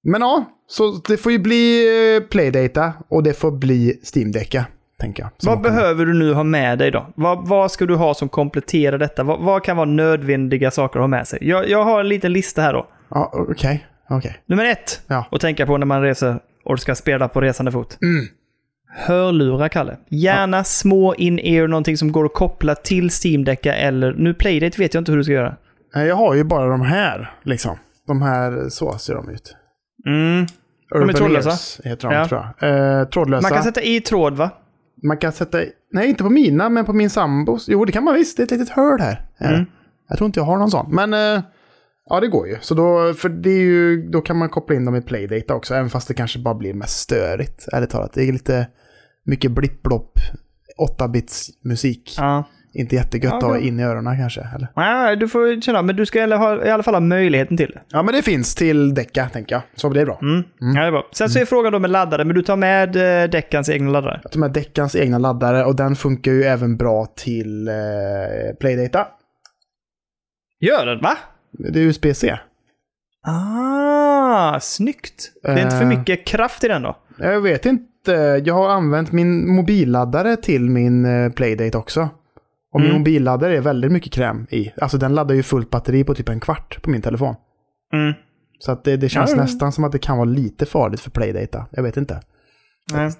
Speaker 2: men ja, så det får ju bli eh, Playdata och det får bli Steam-däcka, tänker jag. Som
Speaker 1: vad
Speaker 2: kommer-
Speaker 1: behöver du nu ha med dig då? Vad, vad ska du ha som kompletterar detta? Vad, vad kan vara nödvändiga saker att ha med sig? Jag, jag har en liten lista här då.
Speaker 2: Ja, okej. okej.
Speaker 1: Nummer ett
Speaker 2: Ja.
Speaker 1: att tänka på när man reser och ska spela på resande fot.
Speaker 2: Mm.
Speaker 1: Hörlurar, Kalle. Gärna små in-ear, någonting som går att koppla till steam Decka eller... Nu Playdate vet jag inte hur du ska göra.
Speaker 2: Eh, Jag har ju bara de här, liksom. De här, så ser de ut.
Speaker 1: Mm. är
Speaker 2: Urban
Speaker 1: trådlösa.
Speaker 2: Ears heter de
Speaker 1: Ja.
Speaker 2: tror jag. Eh, trådlösa.
Speaker 1: Man kan sätta i tråd va?
Speaker 2: man kan sätta... i- Nej, inte på mina, men på min sambos. Jo, det kan man visst. Det är ett litet hål här. Eh,
Speaker 1: Mm.
Speaker 2: Jag tror inte jag har någon sån. Men eh, ja, det går ju. Så då, för det är ju, då kan man koppla in dem i Playdate också, även fast det kanske bara blir mest störigt, ärligt talat. Det är lite mycket blipplopp, 8-bits musik.
Speaker 1: Ja.
Speaker 2: Inte jättegött
Speaker 1: Ja,
Speaker 2: att ha
Speaker 1: det-
Speaker 2: in i öronen kanske. Eller?
Speaker 1: Nej, du får känna. Men du ska i alla fall- i alla fall ha möjligheten till det.
Speaker 2: Ja, men det finns till Deca, tänker jag. Så det är bra.
Speaker 1: Mm. Ja, det är bra. Sen så är frågan då med laddare, men du tar med eh, Deckans egna laddare?
Speaker 2: De här Deckans egna laddare, och den funkar ju även bra till eh, Playdata.
Speaker 1: Gör den, va?
Speaker 2: Det är USB-C.
Speaker 1: Ah, snyggt. Det är inte för
Speaker 2: Eh.
Speaker 1: mycket kraft i den då?
Speaker 2: Jag vet inte. Jag har använt min mobilladdare till min eh, Playdate också. Och min
Speaker 1: Mm.
Speaker 2: mobilladdare är väldigt mycket kräm i. Alltså den laddar ju fullt batteri på typ en kvart på min telefon.
Speaker 1: Mm.
Speaker 2: Så att det, det känns
Speaker 1: Ja, ja.
Speaker 2: nästan som att det kan vara lite farligt för Playdata. Jag vet inte.
Speaker 1: Nej.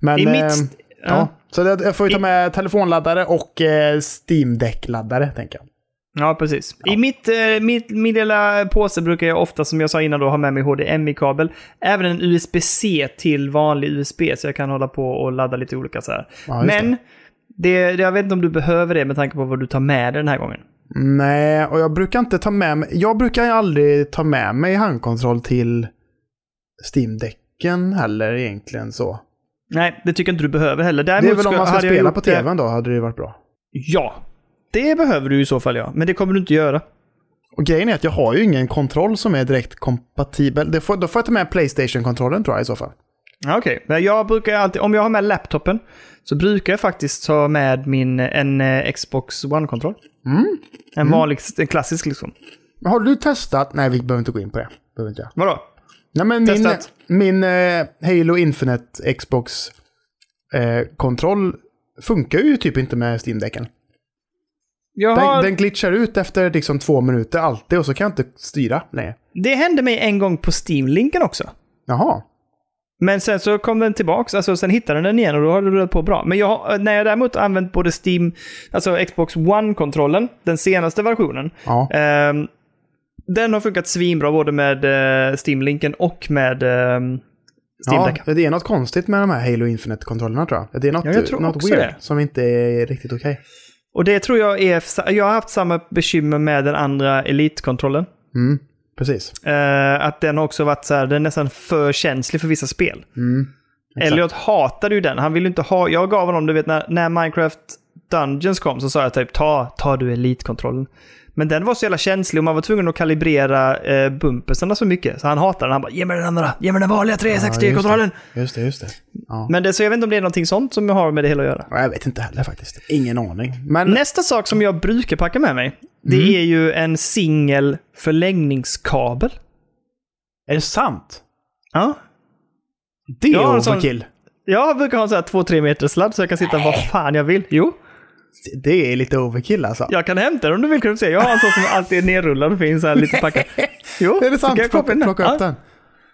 Speaker 2: Men,
Speaker 1: I
Speaker 2: eh,
Speaker 1: mitt... st-
Speaker 2: ja. Så det, jag får ju ta med telefonladdare och eh, steam deck laddare tänker jag.
Speaker 1: Ja, precis. I mitt, eh, mitt, min lilla påse brukar jag ofta, som jag sa innan, då, ha med mig HDMI-kabel. Även en USB-C till vanlig USB, så jag kan hålla på och ladda lite olika så här.
Speaker 2: Ja, just
Speaker 1: Men, det, jag vet inte om du behöver det med tanke på vad du tar med dig den här gången.
Speaker 2: Nej, och jag brukar inte ta med mig... Jag brukar ju aldrig ta med mig handkontroll till steam decken heller egentligen så.
Speaker 1: Nej, det tycker jag inte du behöver heller.
Speaker 2: Det
Speaker 1: Däremot
Speaker 2: är väl om
Speaker 1: skulle-
Speaker 2: man ska
Speaker 1: hade jag
Speaker 2: spela
Speaker 1: gjort
Speaker 2: på
Speaker 1: det-
Speaker 2: tvn då, hade det ju varit bra.
Speaker 1: Ja, det behöver du i så fall ja. Men det kommer du inte göra.
Speaker 2: Och grejen är att jag har ju ingen kontroll som är direkt kompatibel. Det får, då får jag ta med Playstation-kontrollen tror jag i så fall.
Speaker 1: Ja, Okej, men jag brukar ju alltid, om jag har med laptopen så brukar jag faktiskt ta med min, en eh, Xbox One-kontroll. En vanlig, en klassisk liksom.
Speaker 2: Men har du testat? Nej, vi behöver inte gå in på det. Behöver inte jag.
Speaker 1: Vadå?
Speaker 2: Nej, men min,
Speaker 1: Testat.
Speaker 2: min eh, Halo Infinite Xbox-kontroll funkar ju typ inte med Steam-däcken.
Speaker 1: Jag
Speaker 2: Den,
Speaker 1: har,
Speaker 2: den glitchar ut efter liksom två minuter alltid och så kan jag inte styra längre.
Speaker 1: Det hände mig en gång på Steam-linken också.
Speaker 2: Jaha.
Speaker 1: Men sen så kom den tillbaks, alltså sen hittade den igen och då har det rullat på bra. Men jag, har- när jag däremot använt både Steam, alltså Xbox One-kontrollen, den senaste versionen,
Speaker 2: Ja.
Speaker 1: Ehm, den har funkat svinbra både med eh, Steam-linken och med ehm, Steam
Speaker 2: ja,
Speaker 1: Deck.
Speaker 2: det är något konstigt med de här Halo Infinite-kontrollerna tror jag. Det är något,
Speaker 1: Ja, jag tror
Speaker 2: något
Speaker 1: också
Speaker 2: weird
Speaker 1: det.
Speaker 2: som inte är riktigt okej.
Speaker 1: Och det tror jag är... f- Jag har haft samma bekymmer med den andra Elite-kontrollen.
Speaker 2: Mm, precis.
Speaker 1: Eh, att den har också varit så här, den är nästan för känslig för vissa spel.
Speaker 2: Mm, exakt.
Speaker 1: Elliot hatade ju den. Han ville inte ha... Jag gav honom, du vet när, när Minecraft Dungeons kom så sa jag typ ta, ta du Elite-kontrollen. Men den var så jävla känslig och man var tvungen att kalibrera eh, bumpersarna så mycket. Så han hatade den. Han bara ge mig den andra, ge mig den vanliga
Speaker 2: Ja, just
Speaker 1: 360-kontrollen.
Speaker 2: det. Just det, just det. Ja.
Speaker 1: Men det, så jag vet inte om det är någonting sånt som jag har med det hela att göra.
Speaker 2: Ja, Jag vet inte heller faktiskt. Ingen aning. Men
Speaker 1: Nästa sak som jag brukar packa med mig, det
Speaker 2: Mm.
Speaker 1: är ju en singel förlängningskabel.
Speaker 2: är det sant?
Speaker 1: Ja.
Speaker 2: Det
Speaker 1: Jag har
Speaker 2: är
Speaker 1: en sån-
Speaker 2: overkill.
Speaker 1: Jag brukar ha en sån här 2-3 meter sladd så jag kan sitta var fan jag vill. Jo,
Speaker 2: Det är lite overkill alltså.
Speaker 1: jag kan hämta den om du vill. Kan du se. Jag har en sån som alltid är nerrullad och finns här
Speaker 2: (laughs)
Speaker 1: lite packad. Jo, så
Speaker 2: Är det
Speaker 1: kan
Speaker 2: sant?
Speaker 1: jag
Speaker 2: Plocka,
Speaker 1: koppla in den.
Speaker 2: plocka upp den.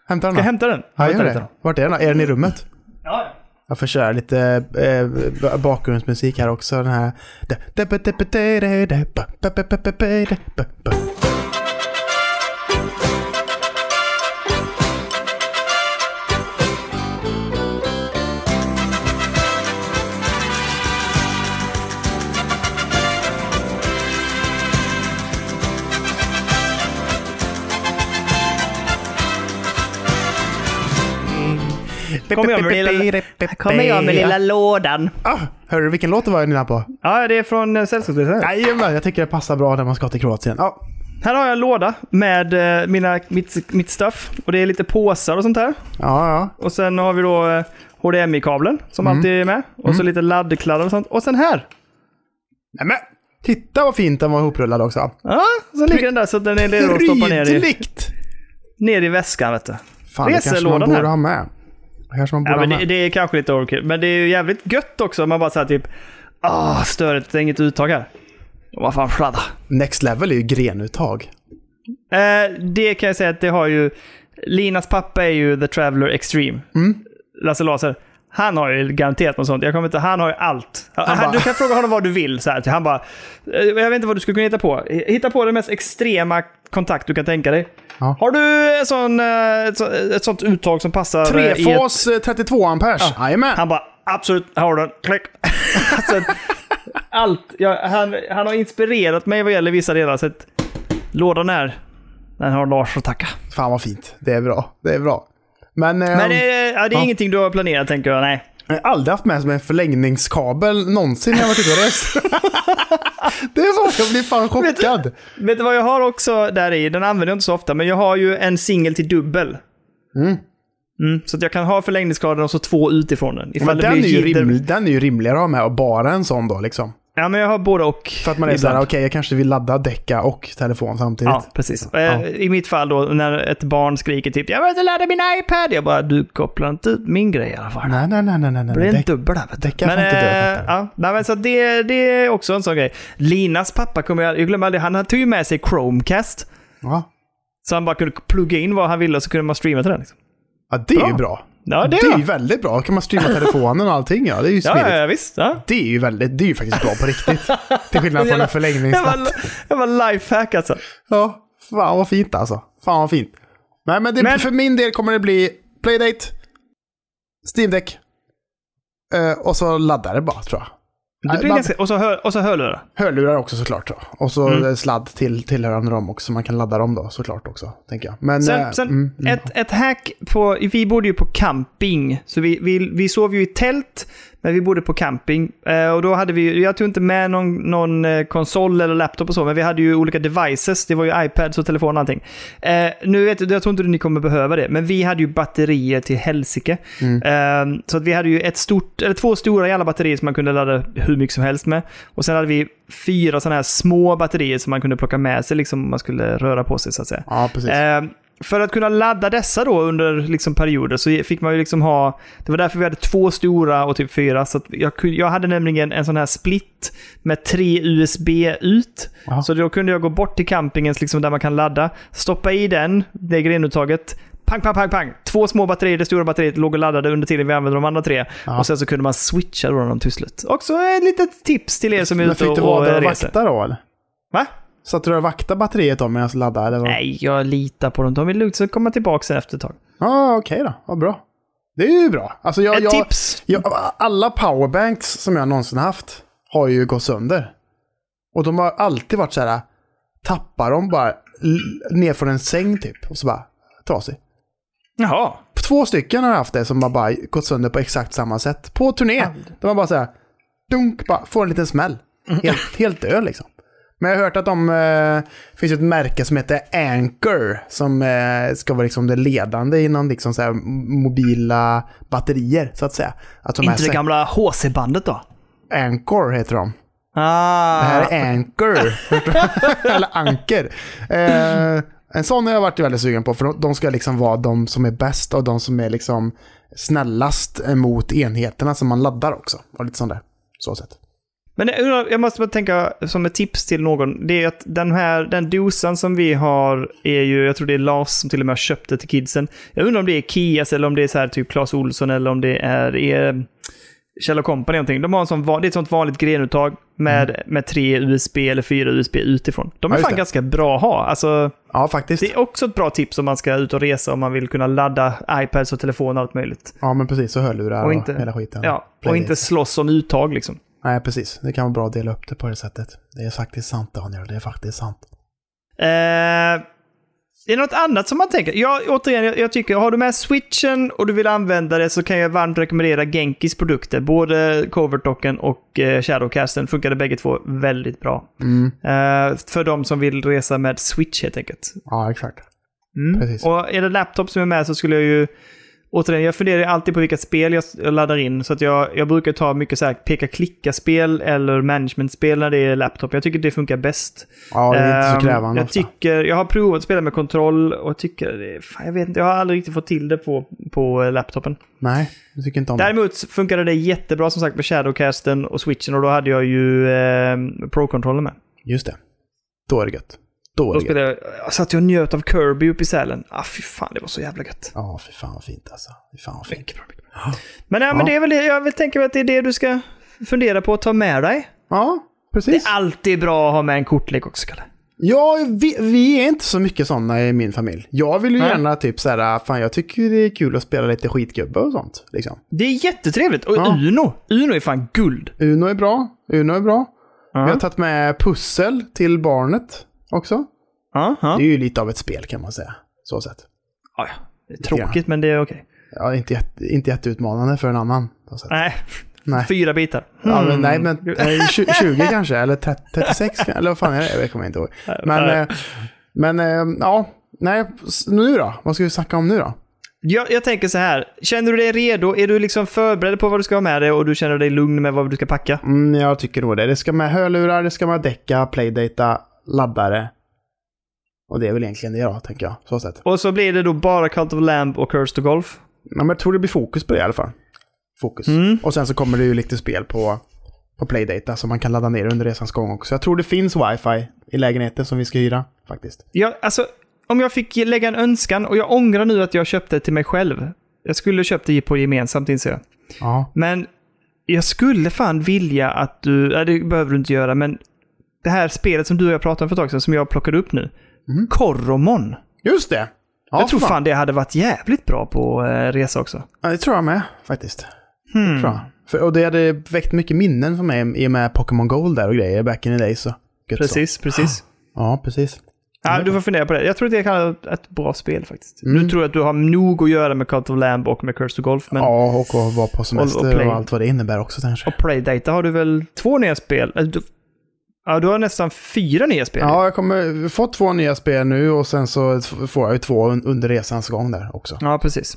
Speaker 2: Hämta den
Speaker 1: Ja,
Speaker 2: då.
Speaker 1: jag hämtar den.
Speaker 2: Ja,
Speaker 1: Jag
Speaker 2: gör
Speaker 1: hämtar den.
Speaker 2: det. Vart är den? Är den i rummet?
Speaker 1: Ja, ja.
Speaker 2: Jag får köra lite eh, b- bakgrundsmusik här också. Den här...
Speaker 1: Kommer jag med lilla- Här kommer jag med lilla lådan.
Speaker 2: Ah, hörde du vilken låt det var jag nynnade på?
Speaker 1: Ja, det är från eh, Sällskapsresan.
Speaker 2: Jajamän, jag tycker det passar bra när man ska till Kroatien. Ja,
Speaker 1: Här har jag en låda med eh, mina, mitt, mitt stuff. Och det är lite påsar och sånt här.
Speaker 2: ja, ja.
Speaker 1: Och sen har vi då eh, HDMI-kabeln som alltid är med. Och så lite laddkladdar och sånt. Och sen här!
Speaker 2: Nej, men, titta vad fint den var ihoprullad också.
Speaker 1: Ja, så ligger den där så att den är redo att stoppa ner i,
Speaker 2: Prydligt!
Speaker 1: ner i väskan. Vet du.
Speaker 2: Fan, det kanske man
Speaker 1: Reselådan
Speaker 2: borde
Speaker 1: här.
Speaker 2: ha med. Det kanske man borde
Speaker 1: Ja,
Speaker 2: ha
Speaker 1: men det,
Speaker 2: med.
Speaker 1: det är kanske lite overkill, men det är ju jävligt gött också. Man bara såhär typ Ah, störigt. Det är inget uttag här. Och Vad fan, fladda.
Speaker 2: Next level är ju grenuttag.
Speaker 1: Eh, det kan
Speaker 3: Mm.
Speaker 1: jag säga att det har ju... Linas pappa är ju The Traveller Extreme. Lasse Laser. Han har ju garanterat något sånt. Jag kommer inte, han har ju allt. Han,
Speaker 3: Han bara-
Speaker 1: du kan fråga honom vad du vill. Så här. Han bara, "Eh, jag vet inte vad du skulle kunna hitta på. Hitta på den mest extrema kontakt du kan tänka dig.
Speaker 3: Ja.
Speaker 1: Har du en sån, eh, ett, så- ett sånt uttag som passar? eh, i ett-
Speaker 2: Trefas eh, 32 ampers. Jajamän.
Speaker 1: Han bara, absolut, här har du den. Klick. (laughs) alltså, allt. Jag, han, han har inspirerat mig vad gäller vissa delar. Så att, lådan här, den har Lars att tacka.
Speaker 2: Fan vad fint. Det är bra. Det är bra. Men, eh,
Speaker 1: Men det, ja, det är ingenting du har planerat tänker jag. Nej.
Speaker 2: jag har aldrig haft med mig en förlängningskabel någonsin när jag varit ute och rest. (laughs) det är så. Jag blir fan chockad.
Speaker 1: Vet du vad jag har också där i? Den använder jag inte så ofta, men jag har ju en singel till dubbel. Mm, så att jag kan ha förlängningsgraden och så två utifrån den. Ifall
Speaker 2: Men
Speaker 1: det
Speaker 2: den, är
Speaker 1: blir
Speaker 2: ju
Speaker 1: jidder.
Speaker 2: rimlig, den är ju rimligare att ha med och bara en sån då liksom.
Speaker 1: Ja, men jag har både och.
Speaker 2: För att man är
Speaker 1: ibland.
Speaker 2: såhär, okej typ. jag kanske vill ladda, däcka och telefon samtidigt.
Speaker 1: Ja, precis. Eh, I mitt fall då, när ett barn skriker typ “Jag vill inte ladda min iPad”. Jag bara “Du kopplar inte ut min grej i alla fall”.
Speaker 2: Nej, nej, nej, nej, nej. nej.
Speaker 1: Det blir en
Speaker 2: Däck-
Speaker 1: dubbla. vet du.
Speaker 2: däckar får inte dö,
Speaker 1: eh,
Speaker 2: fattar
Speaker 1: ja, nej, men så det, det är också en sån grej. Linas pappa kommer jag, jag glömmer aldrig, han tog ju med sig Chromecast.
Speaker 2: ja.
Speaker 1: Så han bara kunde plugga in vad han ville och så kunde man streama till den. Liksom.
Speaker 2: ja, det är ju
Speaker 1: Bra.
Speaker 2: bra.
Speaker 1: Ja, det,
Speaker 2: Det är ju
Speaker 1: ja.
Speaker 2: väldigt bra. Då kan man streama telefonen och allting. Ja, det är ju smidigt.
Speaker 1: Ja, ja, visst. Ja.
Speaker 2: Det är ju väldigt, det är ju faktiskt bra
Speaker 1: (laughs)
Speaker 2: på riktigt. Till skillnad från
Speaker 1: Jag
Speaker 2: en
Speaker 1: var,
Speaker 2: förlängningsnatt.
Speaker 1: jag var lifehack alltså.
Speaker 2: Ja, fan vad fint alltså. Fan vad fint. Nej, men, det,
Speaker 1: Men-
Speaker 2: för min del kommer det bli Playdate, Steam Deck eh, och så laddare bara tror jag.
Speaker 1: Det
Speaker 2: Nej,
Speaker 1: blir
Speaker 2: man-
Speaker 1: ganska, och så, hör, och så hörlurar.
Speaker 2: Hörlurar också såklart. Då. Och så
Speaker 1: Mm.
Speaker 2: eh, sladd till tillhörande dem också. så Man kan ladda dem då såklart också. Tänker jag. Men, eh,
Speaker 1: Sen, sen
Speaker 2: mm, mm.
Speaker 1: ett, ett hack på... Vi bodde ju på camping, så vi, vi, vi sov ju i tält, men vi bodde på camping. Eh, och då hade vi, jag tog inte med någon, någon eh, konsol eller laptop och så, men vi hade ju olika devices. Det var ju iPads och telefon och allting. Eh, nu vet jag, jag tror inte ni kommer behöva det, men vi hade ju batterier till helsike.
Speaker 2: mm,
Speaker 1: Eh, så att vi hade ju ett stort, eller två stora jävla batterier som man kunde ladda hur mycket som helst med. Och sen hade vi fyra sådana här små batterier som man kunde plocka med sig liksom, om man skulle röra på sig så att säga.
Speaker 2: Ja, precis.
Speaker 1: Eh, för att kunna ladda dessa då under liksom perioder så fick man ju liksom ha... Det var därför vi hade två stora och typ fyra. Så att jag, kunde- jag hade nämligen en sån här split med tre USB ut.
Speaker 2: Aha.
Speaker 1: Så då kunde jag gå bort till campingens liksom där man kan ladda, stoppa i den, det grenuttaget. Pang, pang, pang, pang! Två små batterier, det stora batteriet låg och laddade under tiden vi använde de andra tre.
Speaker 2: Ja.
Speaker 1: Och sen så kunde man switcha då dem till slut. Också ett litet tips till er som är
Speaker 2: men
Speaker 1: ute
Speaker 2: fick
Speaker 1: och,
Speaker 2: du vara där
Speaker 1: och
Speaker 2: och
Speaker 1: reser.
Speaker 2: vakta då eller?
Speaker 1: Va?
Speaker 2: Satt du där och vaktade batteriet då medan jag laddade? Eller vad?
Speaker 1: Nej, jag litar på dem. De är lugnt, så kommer tillbaka sen efter ett tag.
Speaker 2: Ja, okej då. Vad bra. Det är ju bra. Alltså jag,
Speaker 1: Ett
Speaker 2: jag,
Speaker 1: tips!
Speaker 2: Jag, alla powerbanks som jag någonsin haft har ju gått sönder. Och de har alltid varit så här, tappar dem bara l- ner från en säng typ. Och så bara, trasig.
Speaker 1: Jaha.
Speaker 2: Två stycken har jag haft det som har bara gått sönder på exakt samma sätt. På turné. De har bara så här, dunk, bara får en liten smäll.
Speaker 1: Mm.
Speaker 2: Helt, helt död liksom. Men jag har hört att de, eh, det finns ju ett märke som heter Anchor som eh, ska vara liksom det ledande inom liksom så här mobila batterier så att säga. Att de här
Speaker 1: Inte det
Speaker 2: säng-
Speaker 1: gamla HC-bandet då?
Speaker 2: Anchor heter de.
Speaker 1: Ah.
Speaker 2: Det här är
Speaker 1: (laughs)
Speaker 2: Anchor. Eller Anker. Eh, en sån har jag varit väldigt sugen på. För de, de ska liksom vara de som är bäst och de som är liksom snällast mot enheterna som man laddar också. Och lite sånt där. Så sett.
Speaker 1: Men jag undrar- jag måste bara tänka som ett tips till någon. Det är att den här den dosan som vi har är ju, jag tror det är Lars som till och med har köpt det till kidsen. Jag undrar om det är Kias eller om det är så här typ Clas Olsson eller om det är, är Kjell Company eller någonting. De har en sån, va- det är ett sånt vanligt grenuttag med, med tre USB eller fyra USB utifrån. De är
Speaker 2: Mm. Ja, just
Speaker 1: fan
Speaker 2: det.
Speaker 1: ganska bra att ha. Alltså,
Speaker 2: Ja, faktiskt.
Speaker 1: det är också ett bra tips om man ska ut och resa om man vill kunna ladda iPads och telefoner och allt möjligt.
Speaker 2: Ja, men precis. Och hörlurar och,
Speaker 1: Och inte-
Speaker 2: hela skiten.
Speaker 1: Ja, och
Speaker 2: Playdate.
Speaker 1: inte slåss om uttag liksom.
Speaker 2: Nej, precis. Det kan vara bra att dela upp det på det sättet. Det är faktiskt sant, Daniel. Det är faktiskt sant.
Speaker 1: Eh, är det något annat som man tänker? Jag, återigen, jag, jag tycker, har du med switchen och du vill använda det så kan jag varmt rekommendera Genkis produkter. Både Covertocken och eh, Shadowcasten funkade bägge två väldigt bra.
Speaker 2: Mm.
Speaker 1: Eh, för de som vill resa med switch helt enkelt.
Speaker 2: Ja, exakt.
Speaker 1: Mm.
Speaker 2: Precis.
Speaker 1: Och är det laptop som är med så skulle jag ju... Återigen, jag funderar ju alltid på vilka spel jag jag laddar in. Så att jag, jag brukar ta mycket så här peka-klicka-spel eller management-spel när det är laptop. Jag tycker det funkar bäst.
Speaker 2: Ja, det är inte
Speaker 1: Ehm,
Speaker 2: så krävande
Speaker 1: jag,
Speaker 2: ofta.
Speaker 1: tycker, jag har provat att spela med kontroll och jag tycker det är, fan, jag vet inte, jag har aldrig riktigt fått till det på, på eh, laptopen.
Speaker 2: Nej, jag tycker inte om det.
Speaker 1: Däremot funkade det jättebra som sagt med Shadowcasten och switchen och då hade jag ju eh, Pro-kontrollen ehm, med.
Speaker 2: Just det. Då är det gött. Då är
Speaker 1: Då
Speaker 2: det gött.
Speaker 1: spelade jag, jag satt ju och njöt av Kirby uppe i Sälen. Ah, fy fan, det var så jävla gött.
Speaker 2: Ja, fy fan vad fint alltså. Fy fan vad fint.
Speaker 1: Mycket bra, mycket bra. Men, ja, men det är väl det, jag vill tänka mig att det är det du ska fundera på att ta med dig.
Speaker 2: Ja,
Speaker 1: Det
Speaker 2: precis.
Speaker 1: är alltid bra att ha med en kortlek också, Kalle.
Speaker 2: Ja, vi, vi är inte så mycket sådana i min familj. Jag vill ju
Speaker 1: Nej.
Speaker 2: gärna typ så här, fan jag tycker det är kul att spela lite skitgubbe och sånt. Liksom.
Speaker 1: Det är jättetrevligt. Och
Speaker 2: Ja.
Speaker 1: Uno, Uno är fan guld.
Speaker 2: Uno är bra, Uno är bra.
Speaker 1: Ja.
Speaker 2: Vi har tagit med pussel till barnet också.
Speaker 1: Ja, ja.
Speaker 2: Det är ju lite av ett spel kan man säga. Så sett.
Speaker 1: Ja, ja. Det är tråkigt, men det är okej.
Speaker 2: Ja, inte, jätte, inte jätteutmanande för en annan. Så sett.
Speaker 1: Nej.
Speaker 2: Nej.
Speaker 1: Fyra bitar.
Speaker 2: Ja, men,
Speaker 1: Mm.
Speaker 2: nej, men eh, tju- 20 (laughs) kanske, eller 30, 36 kan- eller vad fan är det? Jag kommer inte ihåg. Men, eh, men eh, ja, nej, s- nu då? Vad ska vi snacka om nu då?
Speaker 1: Jag, jag tänker så här. Känner du dig redo? Är du liksom förberedd på vad du ska ha med dig och du känner dig lugn med vad du ska packa?
Speaker 2: Mm, jag tycker nog det. Det ska med hörlurar, det ska med däcka, playdata, laddare. Och det är väl egentligen det då, tänker jag. Så sett.
Speaker 1: Och så blir det då bara Cult of Lamb och Curse to Golf.
Speaker 2: Ja, men jag tror det blir fokus på det i alla fall. Fokus.
Speaker 1: Mm.
Speaker 2: Och sen så kommer det ju lite spel på, på playdata som man kan ladda ner under resans gång också. Jag tror det finns wifi i lägenheten som vi ska hyra, faktiskt.
Speaker 1: Jag, alltså, om jag fick lägga en önskan, och jag ångrar nu att jag köpte till mig själv. Jag skulle köpt det på gemensamt inser jag.
Speaker 2: Ja.
Speaker 1: Men jag skulle fan vilja att du, nej, det behöver du inte göra, men det här spelet som du och jag pratade om för ett tag sedan, som jag plockade upp nu. Koromon.
Speaker 2: Just det! Ja,
Speaker 1: jag tror Mhm. fan det hade varit jävligt bra på eh, resa också.
Speaker 2: Ja, det tror jag med, faktiskt.
Speaker 1: Hmm.
Speaker 2: Det tror jag. För, och det hade väckt mycket minnen för mig i och med Pokémon Gold där och grejer back in the day. Så. Gött Så.
Speaker 1: Precis, precis.
Speaker 2: Ja, precis.
Speaker 1: Ja, Mm. du får fundera på det. Jag tror att det kan vara ett bra spel faktiskt. Nu tror jag att du har nog att göra med Cult of Lamb och med Curse to Golf, men...
Speaker 2: Ja, och att vara på
Speaker 1: Och-
Speaker 2: semester
Speaker 1: och
Speaker 2: och,
Speaker 1: play.
Speaker 2: allt vad det innebär också kanske.
Speaker 1: Och Playdata har du väl två nya spel? Eller Du, ja, du har nästan fyra nya spel.
Speaker 2: Ja, jag kommer få två nya spel nu och sen så f- får jag ju två un- under resans gång där också. Mm.
Speaker 1: Ja, precis.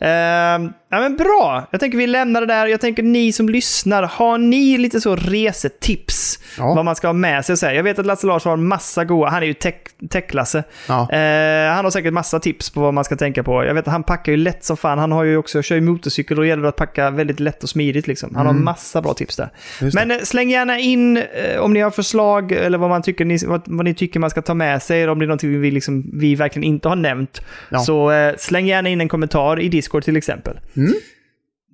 Speaker 1: Ehm, ja, men bra! Jag tänker vi lämnar det där. Jag tänker ni som lyssnar, har ni lite så resetips?
Speaker 2: Ja.
Speaker 1: Vad man ska ha med sig och så här. Jag vet att Lasse Larsson har massa goa, han är ju tech- tech-Lasse.
Speaker 2: Ja.
Speaker 1: Eh, han har säkert massa tips på vad man ska tänka på. Jag vet att han packar ju lätt som fan. Han har ju också, kör ju motorcykel och då gäller det att packa väldigt lätt och smidigt. Liksom. Han har massa bra tips där.
Speaker 2: Just
Speaker 1: Men eh, släng gärna in eh, om ni har förslag eller vad, man tycker ni, vad, vad ni tycker man ska ta med sig. eller Om det är någonting vi, liksom, vi verkligen inte har nämnt.
Speaker 2: Ja.
Speaker 1: Så eh, släng gärna in en kommentar i Discord till exempel.
Speaker 2: Mm.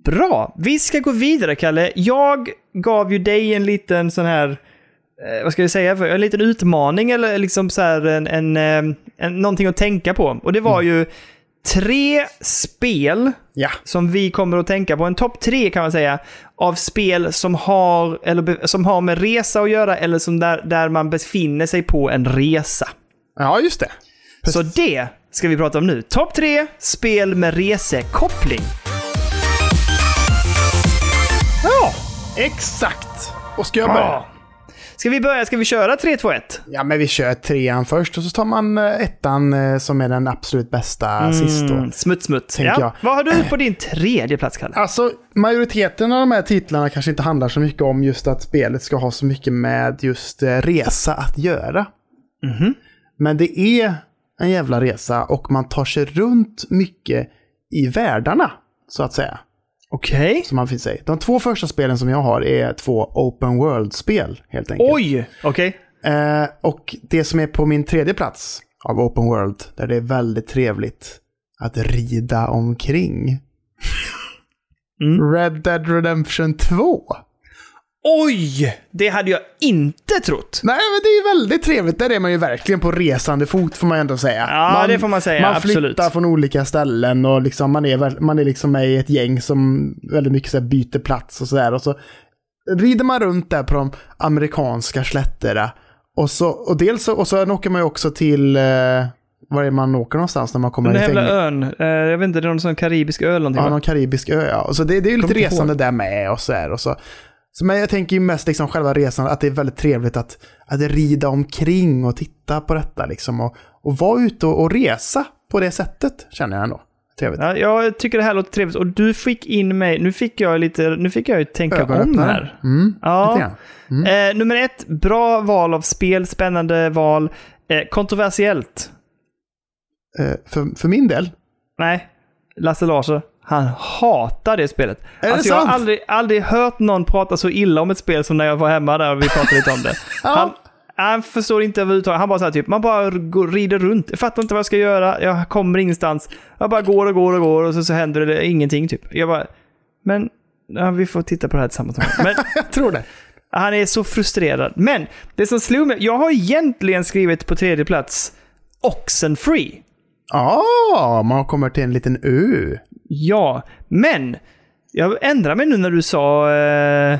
Speaker 1: Bra! Vi ska gå vidare, Kalle. Jag gav ju dig en liten sån här eh, vad ska vi säga, för, en liten utmaning eller liksom så här en, en, eh, en, någonting att tänka på. Och det var
Speaker 2: Mm.
Speaker 1: ju tre spel
Speaker 2: Ja.
Speaker 1: som vi kommer att tänka på. En topp tre kan man säga av spel som har, eller, be- som har med resa att göra eller som där, där man befinner sig på en resa.
Speaker 2: ja, just det.
Speaker 1: Så det ska vi prata om nu. Topp tre spel med resekoppling.
Speaker 2: Ja, exakt. Och ska jag börja?
Speaker 1: Bra. Ska vi börja? Ska vi köra 3, 2, 1?
Speaker 2: Ja, men vi kör trean först och så tar man eh, ettan eh, som är den absolut bästa
Speaker 1: Mm.
Speaker 2: sist då.
Speaker 1: Smutt, smutt.
Speaker 2: Mm.
Speaker 1: Ja.
Speaker 2: Tänker jag.
Speaker 1: Vad har du på din tredje plats, Kalle?
Speaker 2: Alltså, majoriteten av de här titlarna kanske inte handlar så mycket om just att spelet ska ha så mycket med just eh, resa att göra. Men det är en jävla resa och man tar sig runt mycket i världarna, så att säga.
Speaker 1: Okej.
Speaker 2: Som man finns säga. De två första spelen som jag har är två open world-spel, helt enkelt.
Speaker 1: Oj! Okej.
Speaker 2: Eh, och det som är på min tredje plats av Open World, där det är väldigt trevligt att rida omkring.
Speaker 1: Mm.
Speaker 2: Red Dead Redemption 2.
Speaker 1: Oj! Det hade jag inte trott.
Speaker 2: Nej, men det är ju väldigt trevligt. Där är man ju verkligen på resande fot, får man ju ändå säga.
Speaker 1: Ja,
Speaker 2: man,
Speaker 1: det får man säga,
Speaker 2: Man
Speaker 1: absolut.
Speaker 2: flyttar från olika ställen och liksom man, är, väl- man är liksom med i ett gäng som väldigt mycket så här byter plats och sådär. Och så rider man runt där på de amerikanska slätterna. Och så, och dels så, och sen åker man ju också till, eh, var är man åker någonstans när man kommer
Speaker 1: Den
Speaker 2: i
Speaker 1: där jävla
Speaker 2: fängelse?
Speaker 1: ön. Eh, jag vet inte, det är någon sån karibisk ö eller någonting
Speaker 2: Ja,
Speaker 1: va?
Speaker 2: någon karibisk ö ja. Och så det, det är ju lite
Speaker 1: Kommer inte
Speaker 2: resande där med och så här. Och så. Så, men jag tänker ju mest liksom själva resan, att det är väldigt trevligt att, att rida omkring och titta på detta liksom. Och, och vara ute och, och resa på det sättet, känner jag ändå. Trevligt.
Speaker 1: Ja, jag tycker det här låter trevligt och du fick in mig, nu fick jag lite, nu fick jag ju tänka om
Speaker 2: Ögonöppnare.
Speaker 1: här.
Speaker 2: Mm, lite
Speaker 1: Ja.
Speaker 2: grann. Mm.
Speaker 1: Eh, nummer ett, bra val av spel, spännande val. Eh, kontroversiellt.
Speaker 2: Eh, för, för min del,
Speaker 1: Nej, Lasse Larsson, han hatar det spelet.
Speaker 2: det
Speaker 1: alltså, jag
Speaker 2: sant? (laughs)
Speaker 1: har aldrig, aldrig hört någon prata så illa om ett spel som när jag var hemma där och vi pratade lite om det.
Speaker 2: Ja.
Speaker 1: Han Han förstår inte överhuvudtaget. Han bara så här typ, man bara går, rider runt. Jag fattar inte vad jag ska göra. Jag kommer ingenstans. Jag bara går och går och går och så, så händer det ingenting typ. Jag bara, men ja, vi får titta på det här tillsammans. Men
Speaker 2: Jag tror det.
Speaker 1: han är så frustrerad. Men det som slog mig, jag har egentligen skrivit på tredje plats Oxenfree.
Speaker 2: Ja, man kommer till en liten ö.
Speaker 1: Ja, men jag ändrar mig nu när du sa eh,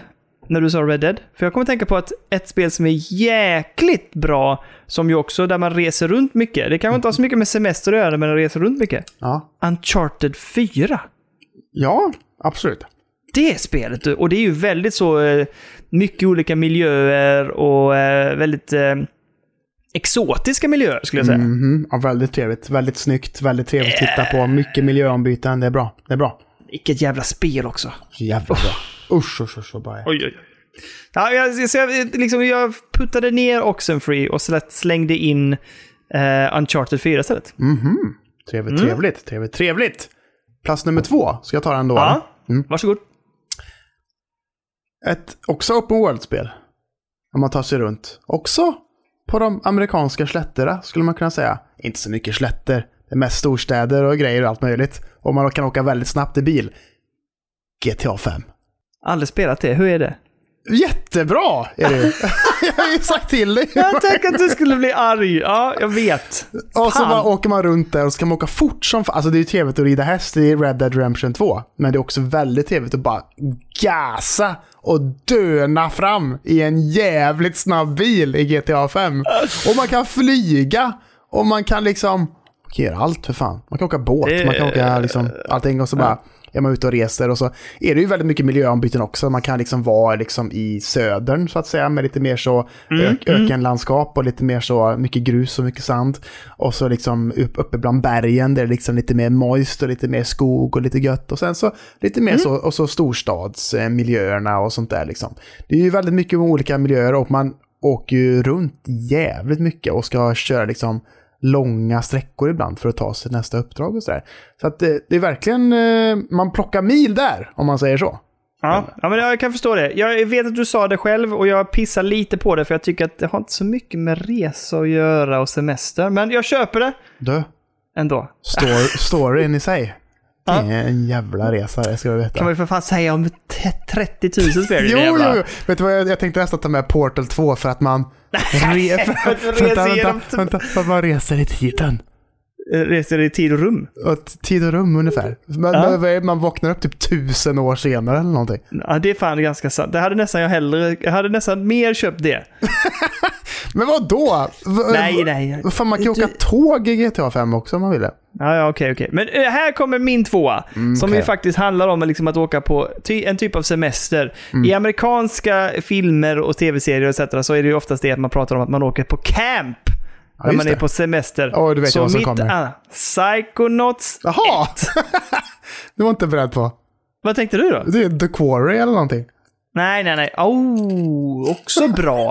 Speaker 1: när du sa Red Dead. För jag kommer tänka på att ett spel som är jäkligt bra, som ju också där man reser runt mycket. Det kanske inte har så mycket med semester att göra, men man reser runt mycket.
Speaker 2: Ja,
Speaker 1: Uncharted 4.
Speaker 2: ja absolut.
Speaker 1: Det spelet, du. och det är ju väldigt så eh, mycket olika miljöer och eh, väldigt eh, exotiska miljöer skulle jag säga.
Speaker 2: Mhm, ja, väldigt trevligt. Väldigt snyggt. Väldigt trevligt att titta på. Mycket miljöombyten. Det är bra. Det är bra.
Speaker 1: Vilket jävla spel också.
Speaker 2: Jävla bra. Usch, usch, usch. vad Bara. är.
Speaker 1: Oj, oj, oj. Ja, jag, så jag, liksom, jag puttade ner Oxenfree och slä- slängde in eh, Uncharted 4 istället.
Speaker 2: Mhm. Trevligt, trevligt, trevligt, trevligt. Plats nummer två. Ska jag ta den då?
Speaker 1: Ja,
Speaker 2: Mm.
Speaker 1: varsågod.
Speaker 2: Ett också open world-spel. Om man tar sig runt. Också på de amerikanska slätterna skulle man kunna säga. Inte så mycket slätter. Det är mest storstäder och grejer och allt möjligt. Och man kan åka väldigt snabbt i bil. GTA 5.
Speaker 1: Aldrig spelat det, hur är det?
Speaker 2: Jättebra är det ju. (laughs) Jag har ju sagt till dig.
Speaker 1: Jag tänkte att du skulle bli arg. Ja, jag vet.
Speaker 2: Och så
Speaker 1: Fan.
Speaker 2: bara åker man runt där och så kan man åka fort som fan. Alltså det är ju trevligt att rida häst i Red Dead Redemption 2. Men det är också väldigt trevligt att bara gasa och döna fram i en jävligt snabb bil i GTA 5. Och man kan flyga och man kan liksom... Man kan göra allt för fan. Man kan åka båt, man kan åka liksom allting och så bara är man ute och reser och så är det ju väldigt mycket miljöombyten också. Man kan liksom vara liksom i södern så att säga med lite mer så ök- ökenlandskap och lite mer så mycket grus och mycket sand. Och så liksom upp, uppe bland bergen där det är liksom lite mer moist och lite mer skog och lite gött. Och sen så lite mer så, och så storstadsmiljöerna och sånt där liksom. Det är ju väldigt mycket olika miljöer och man åker ju runt jävligt mycket och ska köra liksom långa sträckor ibland för att ta sig till nästa uppdrag och sådär. Så att det, det är verkligen, eh, man plockar mil där om man säger så.
Speaker 1: Ja, ja men jag kan förstå det. Jag vet att du sa det själv och jag pissar lite på det för jag tycker att det har inte så mycket med resa att göra och semester. Men jag köper det
Speaker 2: Du,
Speaker 1: ändå.
Speaker 2: (laughs) stor, storyn i sig. Det
Speaker 1: Ja.
Speaker 2: är en jävla resa, det ska du veta.
Speaker 1: Kan man ju för fan säga om t- 30 000 spel.
Speaker 2: Jo,
Speaker 1: din
Speaker 2: jo,
Speaker 1: jävla-
Speaker 2: jo. Vet du vad, jag, jag tänkte nästan ta med Portal 2 för
Speaker 1: (laughs)
Speaker 2: att man... Re, för,
Speaker 1: för att man reser
Speaker 2: vänta, vänta,
Speaker 1: genom-
Speaker 2: vänta, för att man reser i tiden.
Speaker 1: Eh, Reser i tid och rum.
Speaker 2: Och tid och rum ungefär. Man,
Speaker 1: Ja.
Speaker 2: man- man vaknar upp typ tusen år senare eller någonting.
Speaker 1: Ja, det är fan ganska sant. Det hade nästan jag hellre... Jag hade nästan mer köpt det.
Speaker 2: Men vad då?
Speaker 1: Nej, nej.
Speaker 2: Fan, man kan ju
Speaker 1: Du-
Speaker 2: åka tåg i GTA 5 också om man ville.
Speaker 1: Ja, ja, okej, okej. Men eh, här kommer min tvåa. som
Speaker 2: Mm, okej.
Speaker 1: ju faktiskt handlar om liksom att åka på ty- en typ av semester.
Speaker 2: Mm.
Speaker 1: I amerikanska filmer och tv-serier etc. så är det ju oftast det att man pratar om att man åker på camp. när
Speaker 2: just
Speaker 1: man är
Speaker 2: det.
Speaker 1: på semester.
Speaker 2: Ja, du vet
Speaker 1: så
Speaker 2: jag vad som
Speaker 1: mitt,
Speaker 2: kommer.
Speaker 1: ah, Psychonauts.
Speaker 2: Jaha! (laughs) du var inte beredd på.
Speaker 1: Vad tänkte du då?
Speaker 2: Det är The Quarry eller någonting.
Speaker 1: Nej, nej, nej. Oh, också
Speaker 2: (laughs)
Speaker 1: bra.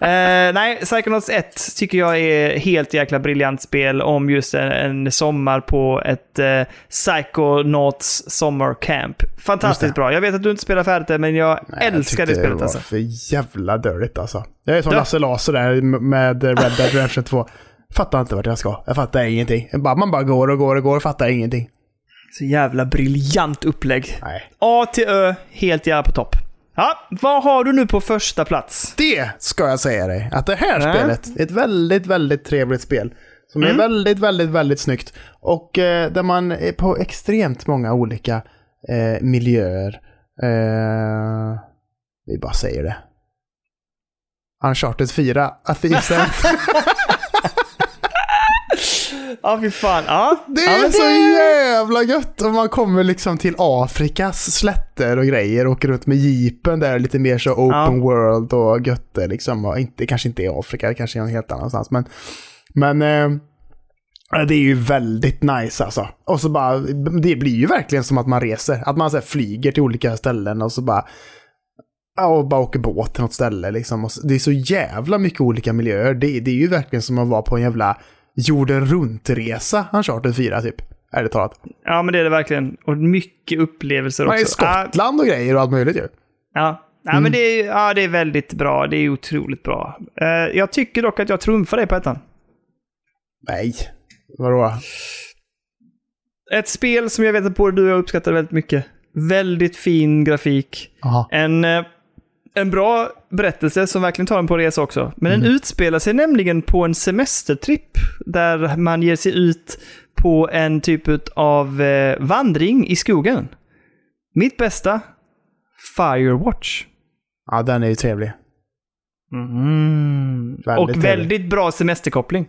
Speaker 1: Eh, nej, Psychonauts 1 tycker jag är helt jäkla briljant spel om just en, en sommar på ett eh, Psychonauts sommarcamp.
Speaker 2: Just
Speaker 1: Fantastiskt bra. Jag vet att du inte spelar färdigt det, men jag älskar
Speaker 2: jag tyckte
Speaker 1: det spelet
Speaker 2: var
Speaker 1: alltså.
Speaker 2: för jävla dörligt alltså. Jag är som
Speaker 1: Ja.
Speaker 2: Lasse Laser där med Red Dead Redemption 2. Fattar inte vart jag ska. Jag fattar ingenting. Jag bara- Man bara går och går och går och fattar ingenting.
Speaker 1: Så jävla briljant upplägg.
Speaker 2: Nej.
Speaker 1: A till Ö, helt jävla på topp. Ja, vad har du nu på första plats?
Speaker 2: Det ska jag säga dig. Att det här
Speaker 1: Ja.
Speaker 2: spelet är ett väldigt, väldigt trevligt spel. Som är väldigt, väldigt, väldigt snyggt. Och eh, där man är på extremt många olika eh, miljöer. Eh, vi bara säger det. Uncharted 4, A Thief's End.
Speaker 1: Ja, fy fan. Ja,
Speaker 2: Det
Speaker 1: ja,
Speaker 2: är
Speaker 1: men
Speaker 2: så jävla gött! Och man kommer liksom till Afrikas slätter och grejer och åker runt med jeepen där, lite mer så open world och gött det liksom. Och inte, kanske inte i Afrika, det kanske är någon helt annanstans. Men, men eh, ja, det är ju väldigt nice alltså. Och så bara, det blir ju verkligen som att man reser. Att man så här, flyger till olika ställen och så bara Ja, och bara åker båt till något ställe liksom. Och så- Det är så jävla mycket olika miljöer. Det, det är ju verkligen som att vara på en jävla jorden runt-resa, Uncharted 4 typ. Ärligt talat. Alltså,
Speaker 1: Ja, men det är det verkligen. Och mycket upplevelser
Speaker 2: Man är i
Speaker 1: också. Ah,
Speaker 2: Skottland och grejer och allt möjligt ju.
Speaker 1: Ja, Nej, men det är, ja, det är väldigt bra. Det är otroligt bra. Eh, jag tycker dock att jag trumfar dig på ettan.
Speaker 2: Nej. Vadå?
Speaker 1: Ett spel som jag vet att både du och jag uppskattar väldigt mycket. Väldigt fin grafik.
Speaker 2: Aha.
Speaker 1: En, eh, en bra berättelse som verkligen tar en på resa också. Men den utspelar sig nämligen på en semestertripp där man ger sig ut på en typ av eh, vandring i skogen. Mitt bästa, Firewatch.
Speaker 2: Ja, den är ju trevlig. Mm. Väldigt
Speaker 1: och
Speaker 2: trevlig.
Speaker 1: väldigt bra semesterkoppling.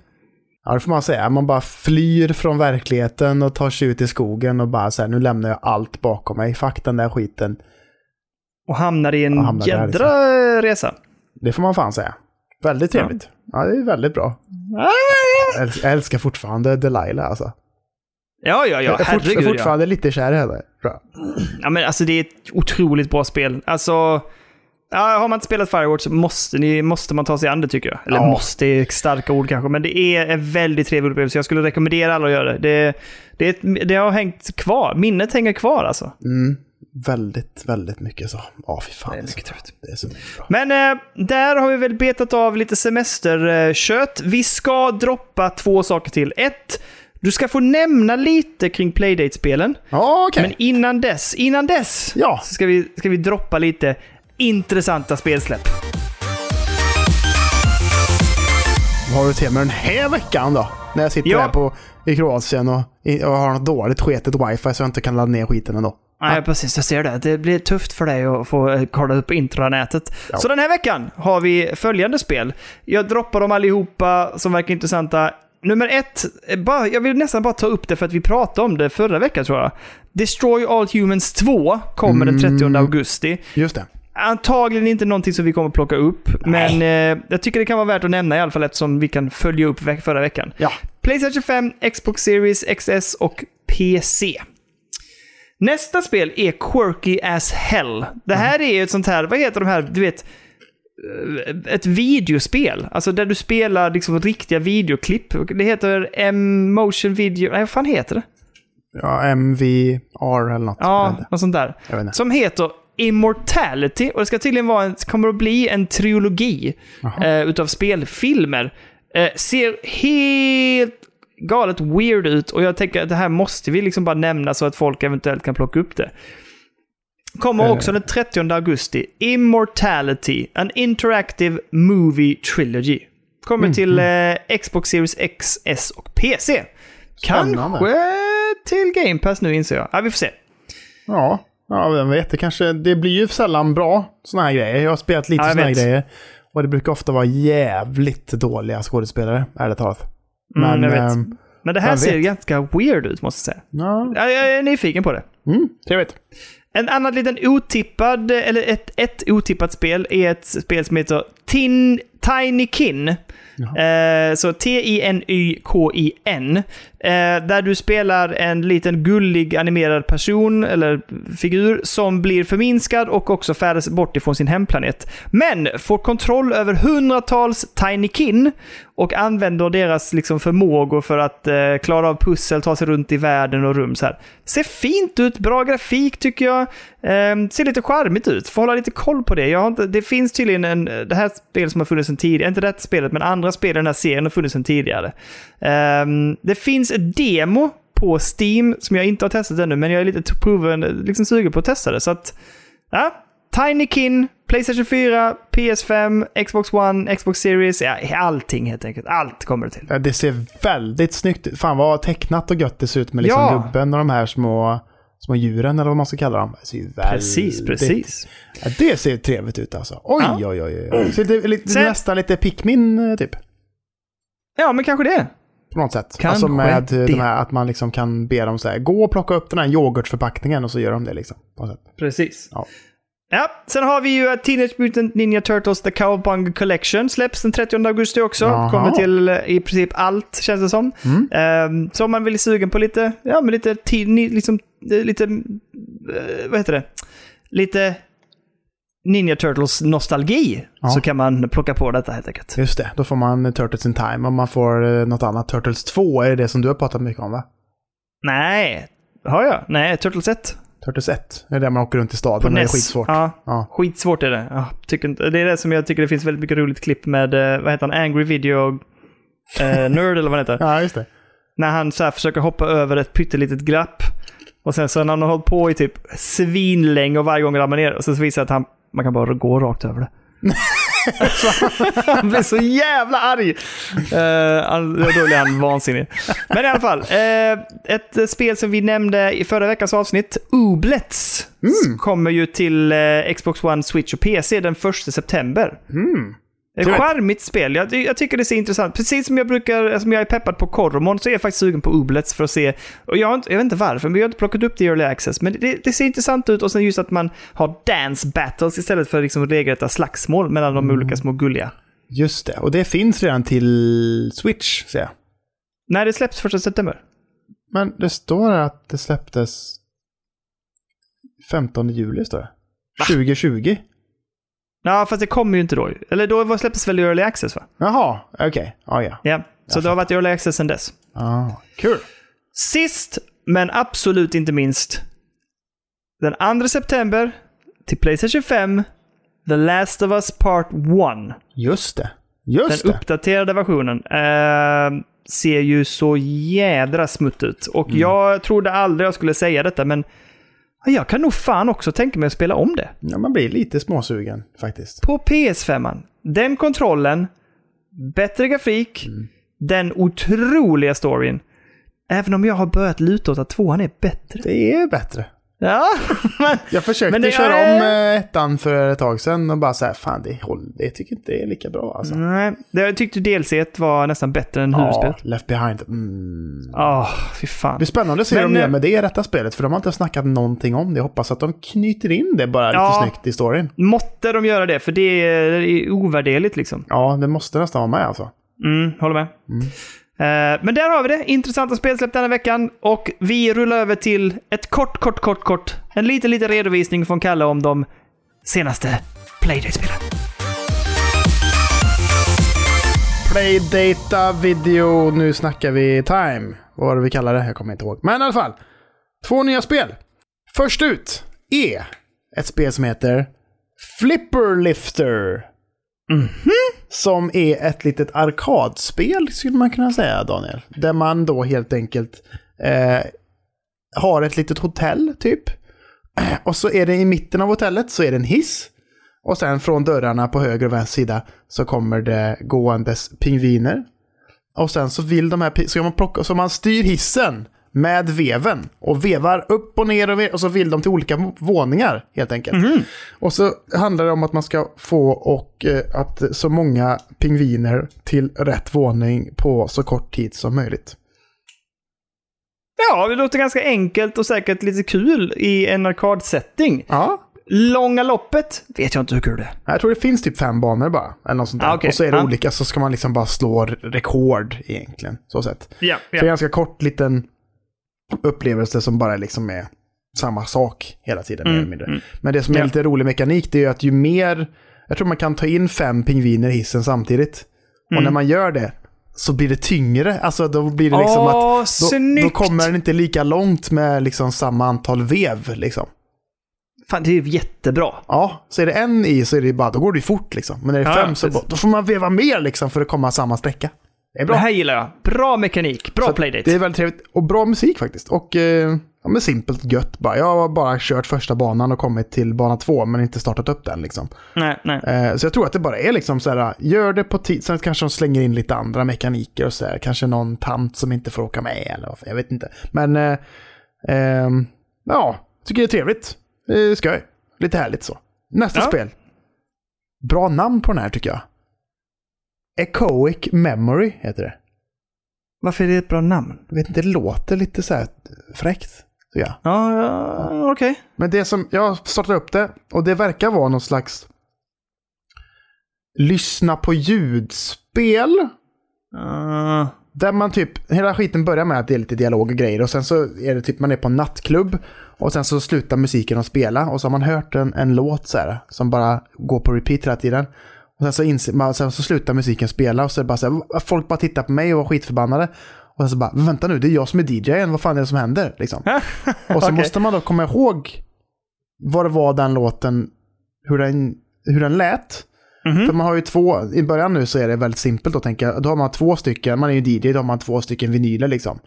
Speaker 2: Ja, det får man säga. Man bara flyr från verkligheten och tar sig ut i skogen och bara så här, nu lämnar jag allt bakom mig. Fuck den där skiten.
Speaker 1: Och hamnar i
Speaker 2: Ja,
Speaker 1: en
Speaker 2: hamnar där, liksom.
Speaker 1: jädra resa.
Speaker 2: Det får man fan säga. Väldigt
Speaker 1: Ja.
Speaker 2: trevligt. Ja, det är väldigt bra. Jag äls- Jag älskar fortfarande Delilah alltså.
Speaker 1: Ja, ja, ja.
Speaker 2: jag är fort- jag är
Speaker 1: Herregud ja.
Speaker 2: fortfarande lite kär i henne. Bra.
Speaker 1: ja men alltså, det är ett otroligt bra spel. Alltså, ja, har man inte spelat Firewatch så måste, ni, måste man ta sig an det tycker jag. Eller
Speaker 2: Ja.
Speaker 1: måste är ett starka ord kanske, men det är en väldigt trevlig upplevelse. Jag skulle rekommendera alla att göra det. Det, det, är ett, det har hängt kvar. Minnet hänger kvar alltså.
Speaker 2: Mm. Väldigt, väldigt mycket så. Ja, fy fan. Det är, så bra. Det är så bra.
Speaker 1: Men eh, där har vi väl betat av lite semesterkött. Vi ska droppa två saker till. Ett, du ska få nämna lite kring Playdate-spelen.
Speaker 2: Ja, okej.
Speaker 1: Men innan dess, innan dess
Speaker 2: Ja.
Speaker 1: så ska vi, ska vi droppa lite intressanta spelsläpp.
Speaker 2: Vad har du till mig den här veckan då? När jag sitter
Speaker 1: Ja.
Speaker 2: här på, i Kroatien och, i- och har något dåligt sketet wifi så jag inte kan ladda ner skiten ändå.
Speaker 1: Nej, precis. Jag ser det. Det blir tufft för dig att få eh, kolla upp intranätet.
Speaker 2: Ja.
Speaker 1: Så den här veckan har vi följande spel. Jag droppar dem allihopa som verkar intressanta. Nummer ett, eh, bara, jag vill nästan bara ta upp det för att vi pratade om det förra veckan tror jag. Destroy All Humans 2 kommer den 30 augusti.
Speaker 2: Just det.
Speaker 1: Antagligen inte någonting som vi kommer plocka upp, men eh, jag tycker det kan vara värt att nämna i alla fall eftersom vi kan följa upp ve- förra veckan.
Speaker 2: Ja.
Speaker 1: Playstation 5, Xbox Series XS och PC. Nästa spel är Quirky as Hell. Det här är ju ett sånt här, vad heter de här, du vet, eh, ett videospel. Alltså där du spelar liksom riktiga videoklipp. Det heter M-motion video, nej vad fan heter det?
Speaker 2: Ja, MVR eller något. Jag
Speaker 1: Ja,
Speaker 2: vet inte.
Speaker 1: något sånt där.
Speaker 2: Jag vet inte.
Speaker 1: Som heter Immortality och det ska tydligen vara en, kommer att bli en trilogi eh, utav spelfilmer. Eh, ser helt galet weird ut och jag tänker att det här måste vi liksom bara nämna så att folk eventuellt kan plocka upp det.
Speaker 2: Eh.
Speaker 1: Kommer också den 30 augusti, Immortality, an interactive movie trilogy. Kommer
Speaker 2: Mm,
Speaker 1: till eh, Xbox Series X, S och PC.
Speaker 2: Spännande.
Speaker 1: Kanske till Game Pass nu inser jag. Ja, vi får se.
Speaker 2: Ja, ja, vem vet. Det, kanske, det blir ju sällan bra sådana här grejer. Jag har spelat lite
Speaker 1: Ja, jag
Speaker 2: sådana här
Speaker 1: vet.
Speaker 2: grejer. Och det brukar ofta vara jävligt dåliga skådespelare, ärligt talat.
Speaker 1: Mm, jag vet.
Speaker 2: ehm,
Speaker 1: Men det här
Speaker 2: Vem
Speaker 1: ser
Speaker 2: vet?
Speaker 1: ganska weird ut måste jag säga.
Speaker 2: ja,
Speaker 1: Jag, jag är nyfiken på det.
Speaker 2: mm, trevligt.
Speaker 1: En annan liten otippad, eller ett, ett otippat spel är ett spel som heter Tin, Tiny Kin. Eh, så T-I-N-Y-K-I-N. Eh, där du spelar en liten gullig animerad person eller figur som blir förminskad och också färdas bort ifrån sin hemplanet. Men får kontroll över hundratals Tiny Kin och använder deras liksom, förmågor för att eh, klara av pussel, ta sig runt i världen och rum. Så här. Ser fint ut, bra grafik tycker jag. Eh, ser lite charmigt ut, får hålla lite koll på det. Jag har inte, det finns tydligen en, det här spelet som har funnits sedan tidigare, inte det här spelet men andra spel i den här serien har funnits sedan tidigare. Eh, det finns ett demo på Steam som jag inte har testat ännu men jag är lite t- proven, liksom sugen på att testa det. Så att, ja. Tinykin, Playstation 4, PS5, Xbox One, Xbox Series, ja, allting helt enkelt. Allt kommer det till.
Speaker 2: Ja, Det ser väldigt snyggt ut. Fan vad tecknat och gött det ser ut med liksom
Speaker 1: Ja.
Speaker 2: gubben och de här små, små djuren eller vad man ska kalla dem. Det ser ju väldigt...
Speaker 1: Precis, precis.
Speaker 2: Ja, det ser trevligt ut alltså. Oj,
Speaker 1: Ja.
Speaker 2: oj, oj. oj. Så det, är lite,
Speaker 1: Sen-
Speaker 2: Nästan lite Pikmin eh, typ.
Speaker 1: Ja, men kanske det.
Speaker 2: På något sätt.
Speaker 1: Kanske
Speaker 2: alltså med
Speaker 1: det.
Speaker 2: de här, att man liksom kan be dem så här, gå och plocka upp den här yoghurtförpackningen och så gör de det liksom. På något sätt.
Speaker 1: Precis.
Speaker 2: Ja.
Speaker 1: Ja, sen har vi ju att Teenage Mutant Ninja Turtles The Cowabunga Collection. Släpps den 30 augusti också.
Speaker 2: Jaha.
Speaker 1: Kommer till eh, i princip allt, känns det som.
Speaker 2: Mm.
Speaker 1: Ehm, så om man vill är sugen på lite, ja men lite, ti- ni- liksom, eh, lite, eh, vad heter det? Lite Ninja Turtles-nostalgi.
Speaker 2: Ja.
Speaker 1: Så kan man plocka på detta helt enkelt.
Speaker 2: Just det, då får man eh, Turtles in Time om man får eh, något annat. Turtles 2 är det det som du har pratat mycket om va?
Speaker 1: Nej, har jag? Nej, Turtles 1.
Speaker 2: Turtles 1. Det är där man åker runt i staden och det är
Speaker 1: NES.
Speaker 2: skitsvårt.
Speaker 1: E Ja,
Speaker 2: Ja.
Speaker 1: skitsvårt är det. Ja, tycker inte, det är det som jag tycker det finns väldigt mycket roligt klipp med, eh, vad heter han, Angry Video eh, Nerd eller vad han heter.
Speaker 2: ja, just det.
Speaker 1: När han så här försöker hoppa över ett pyttelitet glapp. Och sen så när han har hållit på i typ svinlänge och varje gång ramlar ner. Och sen så visar det att han, man kan bara gå rakt över det. han blir så jävla arg! Eh, han- då blir han vansinnig. Men i alla fall, eh, ett eh, spel som vi nämnde i förra veckans avsnitt, Ooblets, kommer ju till eh, Xbox One, Switch och PC den 1 september.
Speaker 2: Mm,
Speaker 1: Ett
Speaker 2: Trevligt.
Speaker 1: charmigt spel. Jag, jag tycker det ser intressant Precis som jag brukar, som jag är peppad på Koromon så är jag faktiskt sugen på Ooblets för att se. Och jag, har inte, jag vet inte varför, men vi har inte plockat upp det i Early Access. Men det, det ser intressant ut och sen just att man har dance battles istället för liksom regelrätta slagsmål mellan de olika små gulliga.
Speaker 2: Just det. Och det finns redan till Switch, ser jag.
Speaker 1: När det släpps 1 september.
Speaker 2: Men det står här att det släpptes 15 juli, står det. 2020.
Speaker 1: Ja, fast det kommer ju inte då. Eller då var- släpptes väl i Early Access va?
Speaker 2: Jaha, okej. Ja, ja.
Speaker 1: Ja, så det har varit i Early Access sedan dess.
Speaker 2: Ah, kul.
Speaker 1: Sist, men absolut inte minst, den 2 september till Playstation 5, The Last of Us Part 1.
Speaker 2: Just det.
Speaker 1: Den
Speaker 2: Just det.
Speaker 1: uppdaterade versionen. eh, ser ju så jädra smutt ut. Och
Speaker 2: Mm.
Speaker 1: jag trodde aldrig jag skulle säga detta, men jag kan nog fan också tänka mig att spela om det.
Speaker 2: Ja, man blir lite småsugen faktiskt.
Speaker 1: På PS5. Den kontrollen, bättre grafik,
Speaker 2: Mm.
Speaker 1: den otroliga storyn. Även om jag har börjat luta åt att tvåan är bättre.
Speaker 2: Det är bättre.
Speaker 1: Ja, (laughs) men
Speaker 2: Jag försökte
Speaker 1: Men det-
Speaker 2: köra
Speaker 1: ja,
Speaker 2: om eh, ettan för ett tag sedan och bara så här, fan det, håll, det tycker inte det är lika bra alltså.
Speaker 1: Nej, det, jag tyckte DLC var nästan bättre än
Speaker 2: Ja,
Speaker 1: huvudspelet.
Speaker 2: Left behind. Mm.
Speaker 1: Ah, fy fan.
Speaker 2: Det blir spännande att se
Speaker 1: Men,
Speaker 2: vad de gör
Speaker 1: eh,
Speaker 2: med det i detta spelet, för de har inte snackat någonting om det. Jag hoppas att de knyter in det bara
Speaker 1: Ja.
Speaker 2: lite snyggt i storyn.
Speaker 1: Måtte de göra det, för det är, det är ovärderligt liksom.
Speaker 2: Ja, det måste nästan vara med alltså.
Speaker 1: Mm, håller med. Eh, men där har vi det. Intressanta spelsläpp den här veckan. Och vi rullar över till ett kort, kort, kort, kort. En liten, liten redovisning från Kalle om de senaste Playdate-spelen.
Speaker 2: Playdata video, nu snackar vi time. Vad var det vi kallade det? Jag kommer inte ihåg. Men i alla fall. Två nya spel. Först ut är ett spel som heter Flipperlifter. Som är ett litet arkadspel skulle man kunna säga Daniel. Där man då helt enkelt eh, har ett litet hotell typ. (clears throat) Och så är det i mitten av hotellet så är det en hiss. Och sen från dörrarna på höger och vänster sida så kommer det gåendes pingviner. Och sen så vill de här, pi- så man, plocka, så man styr hissen med veven och vevar upp och ner och, ve- och så vill de till olika våningar helt enkelt.
Speaker 1: Mhm.
Speaker 2: Och så handlar det om att man ska få och eh, att så många pingviner till rätt våning på så kort tid som möjligt.
Speaker 1: Ja, det låter ganska enkelt och säkert lite kul i en arkadsetting.
Speaker 2: Ja,
Speaker 1: Långa loppet vet jag inte hur kul det är.
Speaker 2: jag tror det finns typ fem banor bara. Eller något sånt där.
Speaker 1: Ah, okej.
Speaker 2: Och så är det
Speaker 1: Ja.
Speaker 2: olika, så ska man liksom bara slå rekord egentligen. Så sett.
Speaker 1: Ja,
Speaker 2: Så en ganska kort liten upplevelse som bara liksom är samma sak hela tiden. mer eller mindre. Men det som är
Speaker 1: Mm, Ja.
Speaker 2: lite rolig mekanik det är ju att ju mer, jag tror man kan ta in fem pingviner i hissen samtidigt. Och
Speaker 1: Mm.
Speaker 2: när man gör det så blir det tyngre. Alltså då blir det liksom att
Speaker 1: Åh,
Speaker 2: då, då
Speaker 1: snyggt!
Speaker 2: kommer den inte lika långt med liksom samma antal vev. Liksom.
Speaker 1: Fan, det är ju jättebra.
Speaker 2: Ja, så är det en i så är det bara, då går det ju fort liksom. Men när det är
Speaker 1: Ja,
Speaker 2: fem så
Speaker 1: precis.
Speaker 2: bara, då får man veva mer liksom för att komma samma sträcka. Det är bra.
Speaker 1: Det här gillar jag. Bra mekanik, bra
Speaker 2: Så att
Speaker 1: playdate.
Speaker 2: Det är väldigt trevligt och bra musik faktiskt. Och eh, ja, men simpelt gött bara. Jag har bara kört första banan och kommit till bana två men inte startat upp den liksom.
Speaker 1: Nej, nej.
Speaker 2: Eh, så jag tror att det bara är liksom så här, gör det på tid. Sen kanske de slänger in lite andra mekaniker och så här. Kanske någon tant som inte får åka med eller vad, jag vet inte. Men eh, ehm, ja, tycker det är trevligt. Eh, skoj. Lite härligt så. Nästa
Speaker 1: Ja.
Speaker 2: spel. Bra namn på den här tycker jag. Echoic Memory heter det.
Speaker 1: Varför är det ett bra namn?
Speaker 2: Jag vet inte, det låter lite så här fräckt. tycker jag.
Speaker 1: Ja, ja okej.
Speaker 2: Men det som, jag startade upp det och det verkar vara någon slags lyssna på ljudspel.
Speaker 1: Ah,
Speaker 2: Där man typ, hela skiten börjar med att det är lite dialog och grejer och sen så är det typ man är på en nattklubb och sen så slutar musiken att spela och så har man hört en, en låt så här som bara går på repeat hela tiden. Och sen så, inser, man, sen så slutar musiken spela och så är det bara så här, folk bara tittar på mig och var skitförbannade. Och så bara, "Men vänta nu, det är jag som är DJen, vad fan är det som händer? Liksom. och så
Speaker 1: Okej.
Speaker 2: måste man då komma ihåg vad det var den låten, hur den, hur den lät. För man har ju två, i början nu så är det väldigt simpelt då tänker jag. Då har man två stycken, man är ju DJ, då har man två stycken vinyler liksom.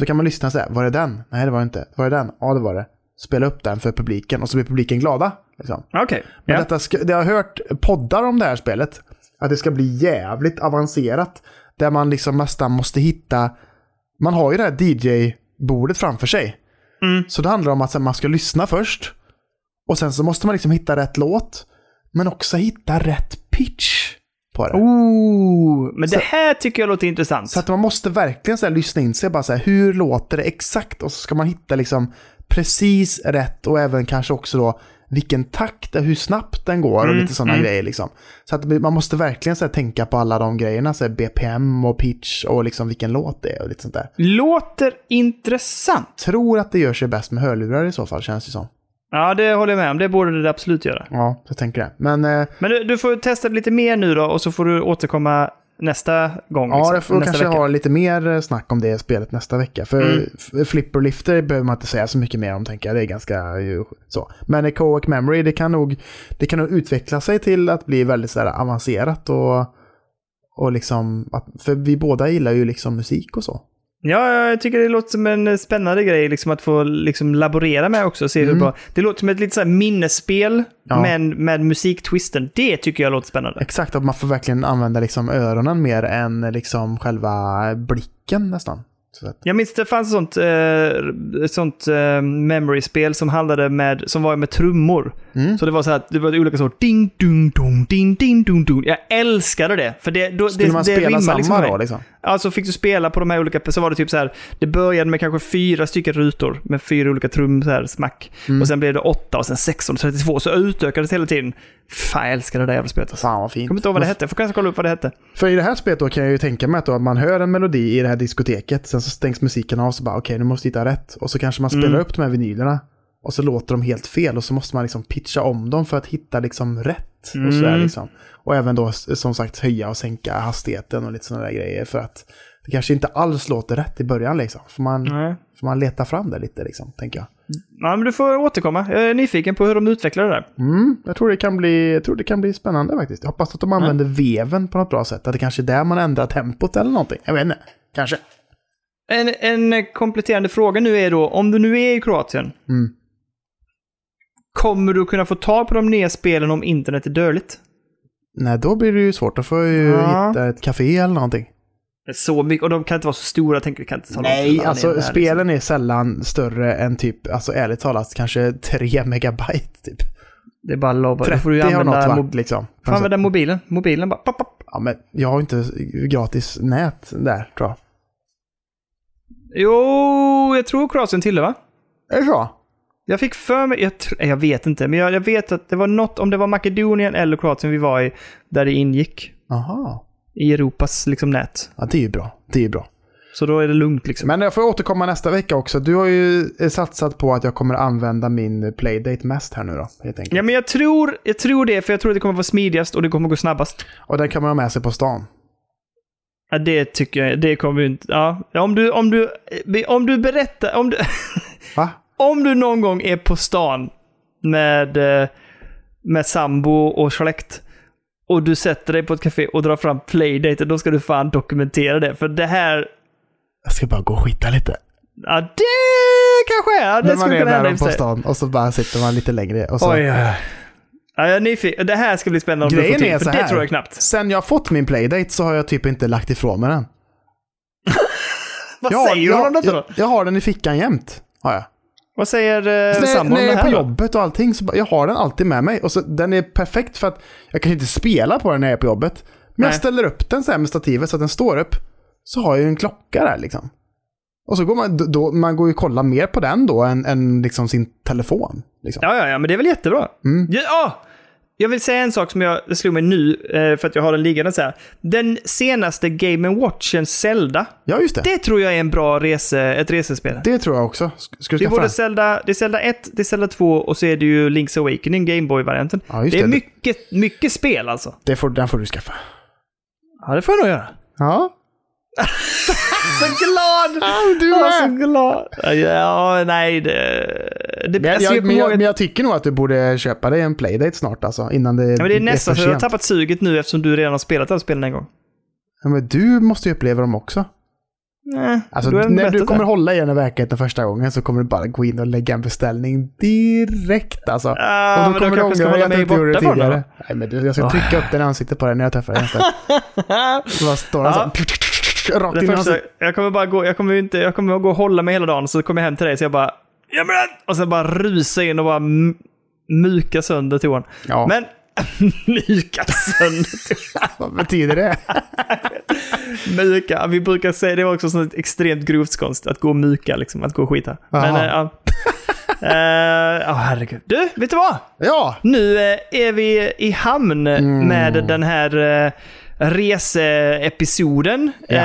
Speaker 2: Så kan man lyssna så här, var det den? Nej det var det inte. Var det den? Ja det var det. Spela upp den för publiken och så blir publiken glada. Liksom.
Speaker 1: (laughs) Okej.
Speaker 2: Men
Speaker 1: Ja.
Speaker 2: detta ska, det har jag hört poddar om det här spelet. Att det ska bli jävligt avancerat. Där man liksom nästan måste hitta... Man har ju det här DJ-bordet framför sig.
Speaker 1: Mm.
Speaker 2: Så det handlar om att så här, man ska lyssna först. Och sen så måste man liksom hitta rätt låt. Men också hitta rätt pitch på det.
Speaker 1: Ooh, men det här tycker jag låter intressant.
Speaker 2: Så att man måste verkligen så här, lyssna in sig. Bara så här, hur låter det exakt? Och så ska man hitta liksom precis rätt och även kanske också då vilken takt, hur snabbt den går och lite sådana grejer. Liksom. Så att man måste verkligen så här, tänka på alla de grejerna. Så här, BPM och pitch och liksom vilken låt det är och lite sånt där.
Speaker 1: Låter intressant.
Speaker 2: Tror att det gör sig bäst med hörlurar i så fall känns det som.
Speaker 1: Ja, det håller jag med om. Det borde det absolut göra.
Speaker 2: Ja, jag tänker det. Men eh,
Speaker 1: Men du, du får testa lite mer nu då och så får du återkomma nästa gång.
Speaker 2: ja,
Speaker 1: liksom.
Speaker 2: jag får
Speaker 1: nästa
Speaker 2: kanske
Speaker 1: vecka. Mm.
Speaker 2: ha lite mer eh, snack om det spelet nästa vecka. För f- flipper och lifter behöver man inte säga så mycket mer om tänker jag. Det är ganska ju, så. Men eh, Coac Memory, det kan, nog, det kan nog utveckla sig till att bli väldigt så här, avancerat och, och liksom, att, för vi båda gillar ju liksom musik och så.
Speaker 1: Ja, ja, jag tycker det låter som en eh, spännande grej liksom, att få liksom, laborera med också. Och se hur bra. Det låter som ett litet så här minnesspel,
Speaker 2: Mm. Ja.
Speaker 1: men med musiktwisten. Det tycker jag låter spännande.
Speaker 2: Exakt, att man får verkligen använda liksom öronen mer än eh, liksom själva blicken nästan. Så att,
Speaker 1: Jag minns det fanns ett sånt, eh, ett sånt eh, memory-spel som handlade med, som var med trummor.
Speaker 2: Mm.
Speaker 1: Så det var så här, det var olika sorter. Ding, dung, dung, ding, ding, dung, dung. Jag älskade det. För det, då,
Speaker 2: skulle
Speaker 1: det,
Speaker 2: man
Speaker 1: det
Speaker 2: spela
Speaker 1: rimmar
Speaker 2: samma
Speaker 1: liksom med mig.
Speaker 2: då liksom?
Speaker 1: Alltså fick du spela på de här olika, så var det typ så här, det började med kanske fyra stycken rutor med fyra olika trum så här, smack.
Speaker 2: Mm.
Speaker 1: Och sen blev det åtta och sen 16 och 32, så utökades hela tiden. Fan, jag älskar det där jävla spelet. alltså.
Speaker 2: Fan vad fint.
Speaker 1: Jag kommer inte ihåg vad det
Speaker 2: Men
Speaker 1: hette, jag får kanske kolla upp vad det hette.
Speaker 2: För i det här spelet då kan jag ju tänka mig att, då, att man hör en melodi i det här diskoteket, sen så stängs musiken av så bara okej nu måste vi hitta rätt. Och så kanske man spelar upp de här vinylerna och så låter de helt fel och så måste man liksom pitcha om dem för att hitta liksom rätt. Och, sådär, liksom. och även då s- som sagt höja och sänka hastigheten och lite sådana där grejer för att det kanske inte alls låter rätt i början liksom. Får man,
Speaker 1: Nej.
Speaker 2: får man leta fram det lite liksom, tänker jag.
Speaker 1: Ja, men du får återkomma. Jag är nyfiken på hur de utvecklar det där.
Speaker 2: Mm, jag, tror det kan bli, jag tror det kan bli spännande faktiskt. Jag hoppas att de använder veven på något bra sätt. Att det kanske är där man ändrar tempot eller någonting. Jag vet inte. Kanske.
Speaker 1: En, en kompletterande fråga nu är då, om du nu är i Kroatien,
Speaker 2: Mm.
Speaker 1: kommer du kunna få tag på de nya spelen om internet är dåligt?
Speaker 2: Nej, då blir det ju svårt. Då får jag ju
Speaker 1: Ja.
Speaker 2: hitta ett café eller någonting.
Speaker 1: Det är Så mycket, och de kan inte vara så stora, jag tänker det kan inte ta lång tid att ladda ner
Speaker 2: alltså
Speaker 1: det här,
Speaker 2: spelen är sällan större än typ, alltså ärligt talat, kanske 3 (laughs) megabyte typ.
Speaker 1: Liksom. Det är bara lobba. Då
Speaker 2: 30
Speaker 1: får du ju
Speaker 2: har något
Speaker 1: använda
Speaker 2: varit liksom.
Speaker 1: Får använda mobilen. Mobilen bara... Pop, pop.
Speaker 2: Ja, men jag har ju inte gratis nät där tror jag.
Speaker 1: Jo, jag tror Kroatien tillhör va?
Speaker 2: Är det så?
Speaker 1: Jag fick för mig, jag, tr- jag vet inte, men jag, jag vet att det var något, om det var Makedonien eller Kroatien vi var i, där det ingick
Speaker 2: Jaha.
Speaker 1: i Europas liksom, nät.
Speaker 2: Ja, det är ju bra. Det är ju bra.
Speaker 1: Så då är det lugnt liksom.
Speaker 2: Men jag får återkomma nästa vecka också. Du har ju eh, satsat på att jag kommer använda min playdate mest här nu då, helt enkelt.
Speaker 1: Ja, men jag tror, jag tror det, för jag tror att det kommer vara smidigast och det kommer gå snabbast.
Speaker 2: Och den kan man ha med sig på stan.
Speaker 1: Ja, det tycker jag, det kommer ju inte... Ja, om du, om du, om du berättar, om du... (laughs)
Speaker 2: Va?
Speaker 1: Om du någon gång är på stan med, eh, med sambo och släkt och du sätter dig på ett café och drar fram playdate, då ska du fan dokumentera det. För det här,
Speaker 2: Jag ska bara gå och skita lite.
Speaker 1: ja det kanske är,
Speaker 2: När
Speaker 1: det
Speaker 2: man
Speaker 1: skulle
Speaker 2: är
Speaker 1: kunna hända i
Speaker 2: där
Speaker 1: och för
Speaker 2: på
Speaker 1: sig.
Speaker 2: stan och så bara sitter man lite längre. Och så.
Speaker 1: Oj, oj, oj. Ja, jag är nyfiken. Det här ska bli spännande om du
Speaker 2: Grejen
Speaker 1: får
Speaker 2: är
Speaker 1: till,
Speaker 2: så
Speaker 1: för det
Speaker 2: här.
Speaker 1: tror jag knappt.
Speaker 2: Sen jag fått min playdate så har jag typ inte lagt ifrån mig den.
Speaker 1: Vad
Speaker 2: jag,
Speaker 1: säger du om
Speaker 2: jag,
Speaker 1: detta
Speaker 2: jag,
Speaker 1: då?
Speaker 2: jag har den i fickan jämt. Har jag.
Speaker 1: Vad säger eh,
Speaker 2: när,
Speaker 1: sambon
Speaker 2: när
Speaker 1: om
Speaker 2: jag
Speaker 1: det
Speaker 2: är på
Speaker 1: här då?
Speaker 2: jobbet och allting så bara, jag har den alltid med mig. Och så, den är perfekt för att jag kan inte spela på den när jag är på jobbet. Men jag
Speaker 1: Nej.
Speaker 2: ställer upp den så här med stativet så att den står upp. Så har jag ju en klocka där liksom. Och så går man, då- då, man går ju och kollar mer på den då än, än liksom sin telefon. Liksom.
Speaker 1: Ja, ja, ja, men det är väl jättebra.
Speaker 2: Mm.
Speaker 1: Ja, ah! jag vill säga en sak som jag slog mig nu, eh, för att jag har den liggande så här. Den senaste Game Watchen Zelda,
Speaker 2: Ja, just det. det.
Speaker 1: det tror jag är en bra rese, ett resespel.
Speaker 2: tror jag också. Sk- Ska
Speaker 1: Det
Speaker 2: du
Speaker 1: är
Speaker 2: skaffa
Speaker 1: både
Speaker 2: den?
Speaker 1: Zelda, det är Zelda 1, det är Zelda 2 och så är det ju Link's Awakening, Gameboy-varianten.
Speaker 2: Ja, just
Speaker 1: det är
Speaker 2: det.
Speaker 1: mycket, mycket spel alltså.
Speaker 2: Det får, den får du skaffa.
Speaker 1: Ja, det får jag nog göra.
Speaker 2: Ja.
Speaker 1: Så glad!
Speaker 2: Du
Speaker 1: Jag var så glad. Ja, nej, det... det
Speaker 2: Men jag,
Speaker 1: alltså, jag
Speaker 2: jag,
Speaker 1: kommer
Speaker 2: men, jag,
Speaker 1: ihåg att-
Speaker 2: men jag tycker nog att du borde köpa dig en playdate snart alltså. Innan det,
Speaker 1: Ja, men det är nästan så
Speaker 2: för
Speaker 1: jag har
Speaker 2: sent.
Speaker 1: tappat suget nu eftersom du redan har spelat alla spelen en gång.
Speaker 2: Ja, men du måste ju uppleva dem också.
Speaker 1: Nej,
Speaker 2: Alltså,
Speaker 1: du har ändå
Speaker 2: när du
Speaker 1: berättat
Speaker 2: kommer
Speaker 1: det.
Speaker 2: hålla i den här verkligheten första gången så kommer du bara gå in och lägga en beställning direkt alltså.
Speaker 1: Ah, men
Speaker 2: och
Speaker 1: då
Speaker 2: kommer du
Speaker 1: kanske ska
Speaker 2: ångra dig
Speaker 1: hålla
Speaker 2: att du
Speaker 1: mig
Speaker 2: inte gjorde det
Speaker 1: borta från
Speaker 2: tidigare.
Speaker 1: det
Speaker 2: Nej, men du, jag ska trycka upp den i ansiktet på dig när jag träffar dig nästa.
Speaker 1: (laughs)
Speaker 2: Så bara står han
Speaker 1: Ja.
Speaker 2: så här, (laughs) rakt
Speaker 1: Det
Speaker 2: in i
Speaker 1: första,
Speaker 2: ansiktet.
Speaker 1: jag kommer bara gå, jag kommer ju inte, jag kommer att gå och hålla mig hela dagen så kommer jag hem till dig så jag bara Jamen! Och sen bara rusa in och bara m- muka sönder toan.
Speaker 2: Ja, men...
Speaker 1: Men (laughs) muka sönder toan.
Speaker 2: vad
Speaker 1: (laughs)
Speaker 2: betyder det?
Speaker 1: Muka, vi brukar säga det var också sånt extremt grovt konst att gå och muka liksom, att gå och skita. Men
Speaker 2: Jaha.
Speaker 1: eh,
Speaker 2: (laughs)
Speaker 1: ja. Eh, Ja, herregud. Du, vet du vad?
Speaker 2: Ja,
Speaker 1: Nu eh, är vi i hamn
Speaker 2: Mm.
Speaker 1: med den här eh, reseepisoden.
Speaker 2: Ja.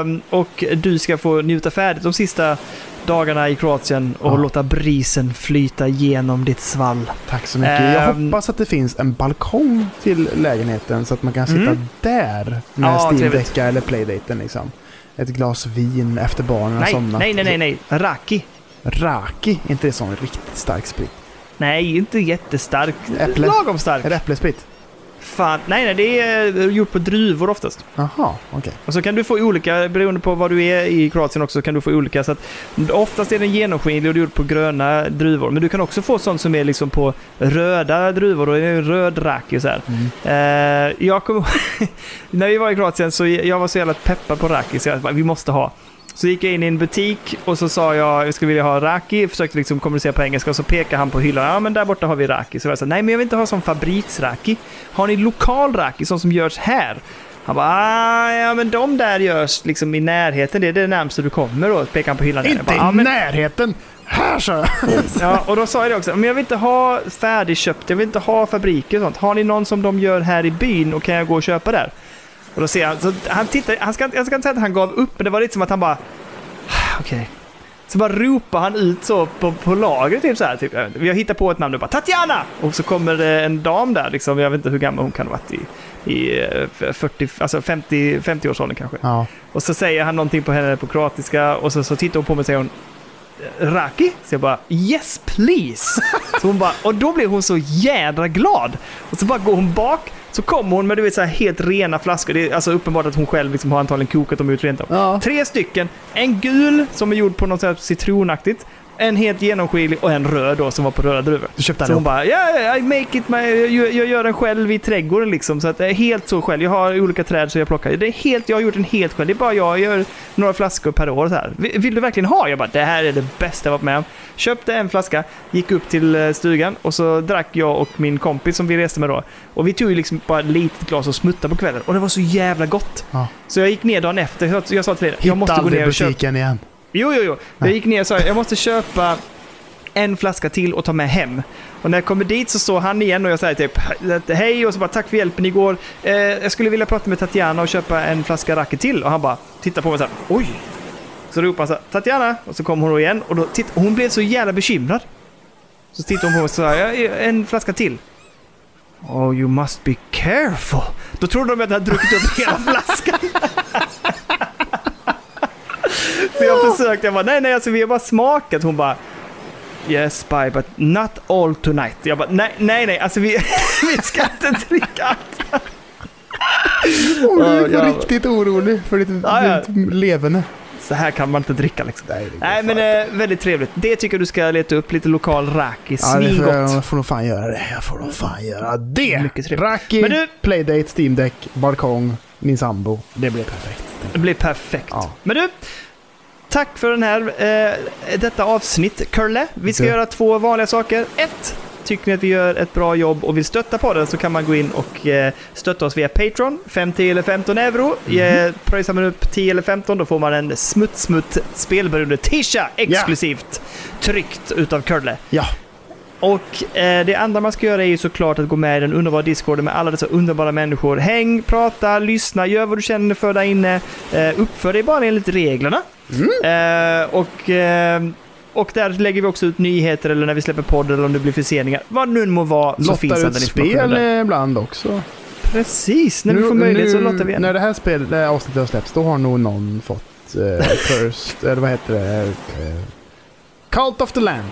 Speaker 1: Ehm, och du ska få njuta färdigt de sista dagarna i Kroatien och
Speaker 2: Ja.
Speaker 1: låta brisen flyta genom ditt svall.
Speaker 2: tack så mycket. Jag
Speaker 1: Ehm.
Speaker 2: hoppas att det finns en balkong till lägenheten så att man kan sitta
Speaker 1: Mm.
Speaker 2: där med
Speaker 1: Ja,
Speaker 2: Steam
Speaker 1: trevligt.
Speaker 2: Decka eller playdaten liksom. Ett glas vin efter barnen har
Speaker 1: Nej,
Speaker 2: somnat.
Speaker 1: nej, nej, nej, nej. Raki.
Speaker 2: Raki, inte det sån riktigt stark sprit?
Speaker 1: Nej, inte jättestark.
Speaker 2: Äpple.
Speaker 1: Lagom stark.
Speaker 2: Är det äpplesprit?
Speaker 1: Fan. Nej, nej, det är eh, gjort på druvor oftast.
Speaker 2: Jaha, okej.
Speaker 1: Och så kan du få olika, beroende på var du är i Kroatien också, kan du få olika. Så att, oftast är den genomskinlig och gjord på gröna druvor. Men du kan också få sånt som är liksom på röda druvor och det är en röd raki och så här.
Speaker 2: Mm.
Speaker 1: Eh, jag kom, (laughs) när vi var i Kroatien så jag var så jävla peppad på raki så jag bara, vi måste ha. Så gick jag in i en butik och så sa jag, jag skulle vilja ha raki. Jag försökte liksom kommunicera på engelska och så pekade han på hyllan. Ja, men där borta har vi raki. Så jag sa, nej, men jag vill inte ha sån fabriksraki. Har ni lokal raki, sån som görs här? Han bara, ah, ja men de där görs liksom i närheten. Det är det närmaste du kommer då, pekade han på hyllan. där. Jag
Speaker 2: Inte
Speaker 1: bara,
Speaker 2: i
Speaker 1: "Ja, men-
Speaker 2: närheten! Här sa jag!
Speaker 1: (laughs) Ja, och då sa jag det också. Men jag vill inte ha färdigköpt, jag vill inte ha fabriker och sånt. Har ni någon som de gör här i byn och kan jag gå och köpa där? Och då ser han, så han tittar, han ska, jag ska inte säga att han gav upp, men det var lite som att han bara, "Ah, okej. Så bara ropar han ut så på, på lagret, typ så här. Typ. Jag vet inte. Vi har hittat på ett namn nu, bara Tatjana! Och så kommer det en dam där, liksom, jag vet inte hur gammal hon kan ha varit i, i eh, 40, alltså 50, 50-årsåldern kanske.
Speaker 2: Ja.
Speaker 1: Och så säger han någonting på henne på kroatiska och så, så tittar hon på mig och säger hon Raki? Så jag bara yes please! Så hon bara, och då blir hon så jädra glad. Och så bara går hon bak, så kommer hon med du vet, så här helt rena flaskor. Det är alltså uppenbart att hon själv liksom har antagligen kokat dem ut rent av.
Speaker 2: Ja.
Speaker 1: Tre stycken, en gul som är gjord på något sånt här citronaktigt, en helt genomskinlig och en röd då som var på röda druvor.
Speaker 2: Du köpte
Speaker 1: Så hon
Speaker 2: allihop.
Speaker 1: bara, yeah, I make it my, jag, jag gör den själv i trädgården liksom. Så att det är helt så själv. Jag har olika träd så jag plockar. Det är helt, jag har gjort den helt själv. Det är bara jag, jag gör några flaskor per år så här. "Vill- Vill du verkligen ha? Jag bara, det här är det bästa jag varit med om. Köpte en flaska, gick upp till eh, stugan och så drack jag och min kompis som vi reste med då. Och vi tog ju liksom bara ett litet glas och smuttade på kvällen. Och det var så jävla gott.
Speaker 2: Ja.
Speaker 1: Så jag gick ner dagen efter. Jag, jag sa till dig, jag måste gå
Speaker 2: aldrig
Speaker 1: ner och köpa.
Speaker 2: butiken igen.
Speaker 1: Jo, jo, jo. Jag gick ner och sa jag måste köpa en flaska till och ta med hem. Och när jag kommer dit så står han igen och jag säger typ hej och så bara tack för hjälpen igår. Eh, jag skulle vilja prata med Tatjana och köpa en flaska raki till. Och han bara tittar på mig så här, oj. Så ropar han så här, Tatjana. Och så kom hon då igen och då titt- hon blev så jävla bekymrad. Så tittar hon på mig och så här, "Ja, en flaska till. Oh, you must be careful. Då trodde de att jag hade druckit upp hela flaskan. Så jag försökte, jag bara nej nej alltså vi har bara smakat. Hon bara Yes bye but not all tonight. Jag bara nej nej nej alltså vi, (laughs) vi ska inte dricka allt.
Speaker 2: Oh, du
Speaker 1: Ja,
Speaker 2: är
Speaker 1: jävlar.
Speaker 2: på riktigt orolig för ditt,
Speaker 1: Ja, ja.
Speaker 2: ditt leverne.
Speaker 1: Så här kan man inte dricka liksom.
Speaker 2: Nej, det går
Speaker 1: Nej men
Speaker 2: fan.
Speaker 1: eh, väldigt trevligt. Det tycker jag du ska leta upp lite lokal raki.
Speaker 2: Ja, det får,
Speaker 1: Svingott.
Speaker 2: jag får nog fan göra det. Jag får nog fan göra det!
Speaker 1: Mycket trevligt.
Speaker 2: Raki,
Speaker 1: Men du-
Speaker 2: playdate, Steam Deck, balkong, min sambo. Det blir perfekt.
Speaker 1: Det blir perfekt.
Speaker 2: Ja.
Speaker 1: Men du, tack för den här, eh, detta avsnitt, Curle. Vi ska
Speaker 2: Du.
Speaker 1: göra två vanliga saker. Ett, tycker ni att vi gör ett bra jobb och vill stötta podden så kan man gå in och eh, stötta oss via Patreon, 5, 10 eller 15 euro. Mm. Eh, pröjsar man upp 10 eller 15 då får man en smutsmutt spelberoende tisha exklusivt tryckt utav Curle.
Speaker 2: Ja,
Speaker 1: Och eh, det andra man ska göra är ju såklart att gå med i den underbara discorden med alla dessa underbara människor. Häng, prata, lyssna, gör vad du känner för där inne. Eh, uppför dig bara enligt reglerna.
Speaker 2: Mm.
Speaker 1: Eh, och, eh, och där lägger vi också ut nyheter eller när vi släpper podd eller om det blir förseningar. Vad det nu må vara så finns
Speaker 2: lottar
Speaker 1: all den
Speaker 2: ut
Speaker 1: informationen
Speaker 2: spel
Speaker 1: där.
Speaker 2: eh, ibland också.
Speaker 1: Precis, när vi får möjlighet så låter vi en.
Speaker 2: När det här spel, det här avsnittet har släppts, då har nog någon fått
Speaker 1: (laughs)
Speaker 2: eh, Cursed, eller vad heter det? Eh, Cult of the Land.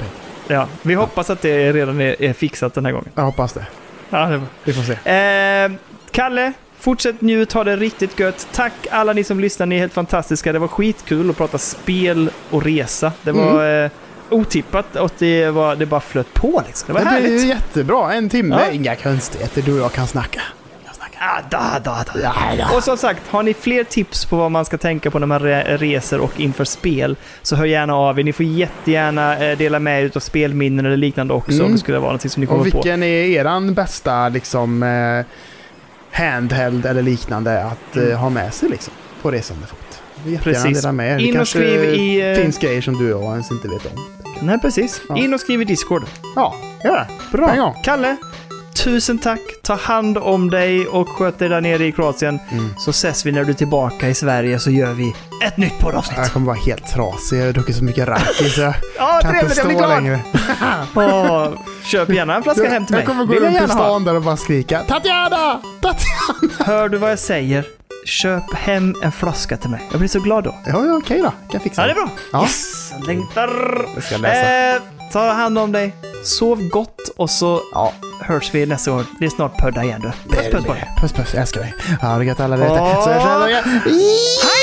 Speaker 1: Ja, vi hoppas att det redan är, är fixat den här gången.
Speaker 2: Jag hoppas det.
Speaker 1: Ja, det var...
Speaker 2: Vi får se.
Speaker 1: Eh, Kalle, fortsätt njut, ha det riktigt gött. Tack alla ni som lyssnar, ni är helt fantastiska. Det var skitkul att prata spel och resa. Det var
Speaker 2: Mm.
Speaker 1: eh, otippat och det, var, det bara flöt på liksom. Det var
Speaker 2: Det blir
Speaker 1: härligt.
Speaker 2: ju jättebra. En timme,
Speaker 1: Ja.
Speaker 2: inga konstigheter. Du och jag kan snacka. Jag snackar.
Speaker 1: Ah, da, da, da.
Speaker 2: Ja, ja.
Speaker 1: Och som sagt, har ni fler tips på vad man ska tänka på när man re- reser och inför spel så hör gärna av er. Ni får jättegärna eh, dela med er av spelminnen eller liknande också
Speaker 2: Mm.
Speaker 1: om det skulle vara någonting som ni kommer
Speaker 2: Och
Speaker 1: på.
Speaker 2: vilken är eran bästa liksom eh, handheld eller liknande att eh, ha med sig liksom på resande fot? Vi vill jättegärna
Speaker 1: Mm. Precis.
Speaker 2: dela med er. Det
Speaker 1: In och
Speaker 2: kanske
Speaker 1: skriv i, eh,
Speaker 2: finns grejer som du och jag ens inte vet om.
Speaker 1: Nej, precis.
Speaker 2: Ja.
Speaker 1: In och skriv i Discord.
Speaker 2: Ja, gör det. En gång.
Speaker 1: Bra. Kalle, tusen tack. Ta hand om dig och sköt dig där nere i Kroatien.
Speaker 2: Mm.
Speaker 1: Så ses vi när du är tillbaka i Sverige så gör vi ett nytt
Speaker 2: Jag
Speaker 1: poddavsnitt.
Speaker 2: kommer vara helt trasig. Jag har druckit så mycket raki så jag
Speaker 1: (laughs) Ja,
Speaker 2: kan inte
Speaker 1: trevligt. Jag
Speaker 2: stå
Speaker 1: blir glad.
Speaker 2: längre.
Speaker 1: Åh, köp gärna en flaska hem till mig.
Speaker 2: jag kommer gå
Speaker 1: Vill jag
Speaker 2: runt i
Speaker 1: gärna ha.
Speaker 2: stan där och bara skrika Tatjana! Tatjana!
Speaker 1: Hör du vad jag säger? Köp hem en flaska till mig. Jag blir så glad då.
Speaker 2: (laughs) Ja, ja, okej då. Kan jag fixa
Speaker 1: Ja, det är bra.
Speaker 2: Ja.
Speaker 1: Yes, jag längtar.
Speaker 2: Jag ska läsa.
Speaker 1: Eh, ta hand om dig. Sov gott och så
Speaker 2: Ja,
Speaker 1: hörs vi nästa år. Det är snart pödda igen du. Puss, puss på dig.
Speaker 2: puss puss. Jag älskar dig. Ha det gött alla där ute.
Speaker 1: Åh.
Speaker 2: Så hörs vi nästa vecka.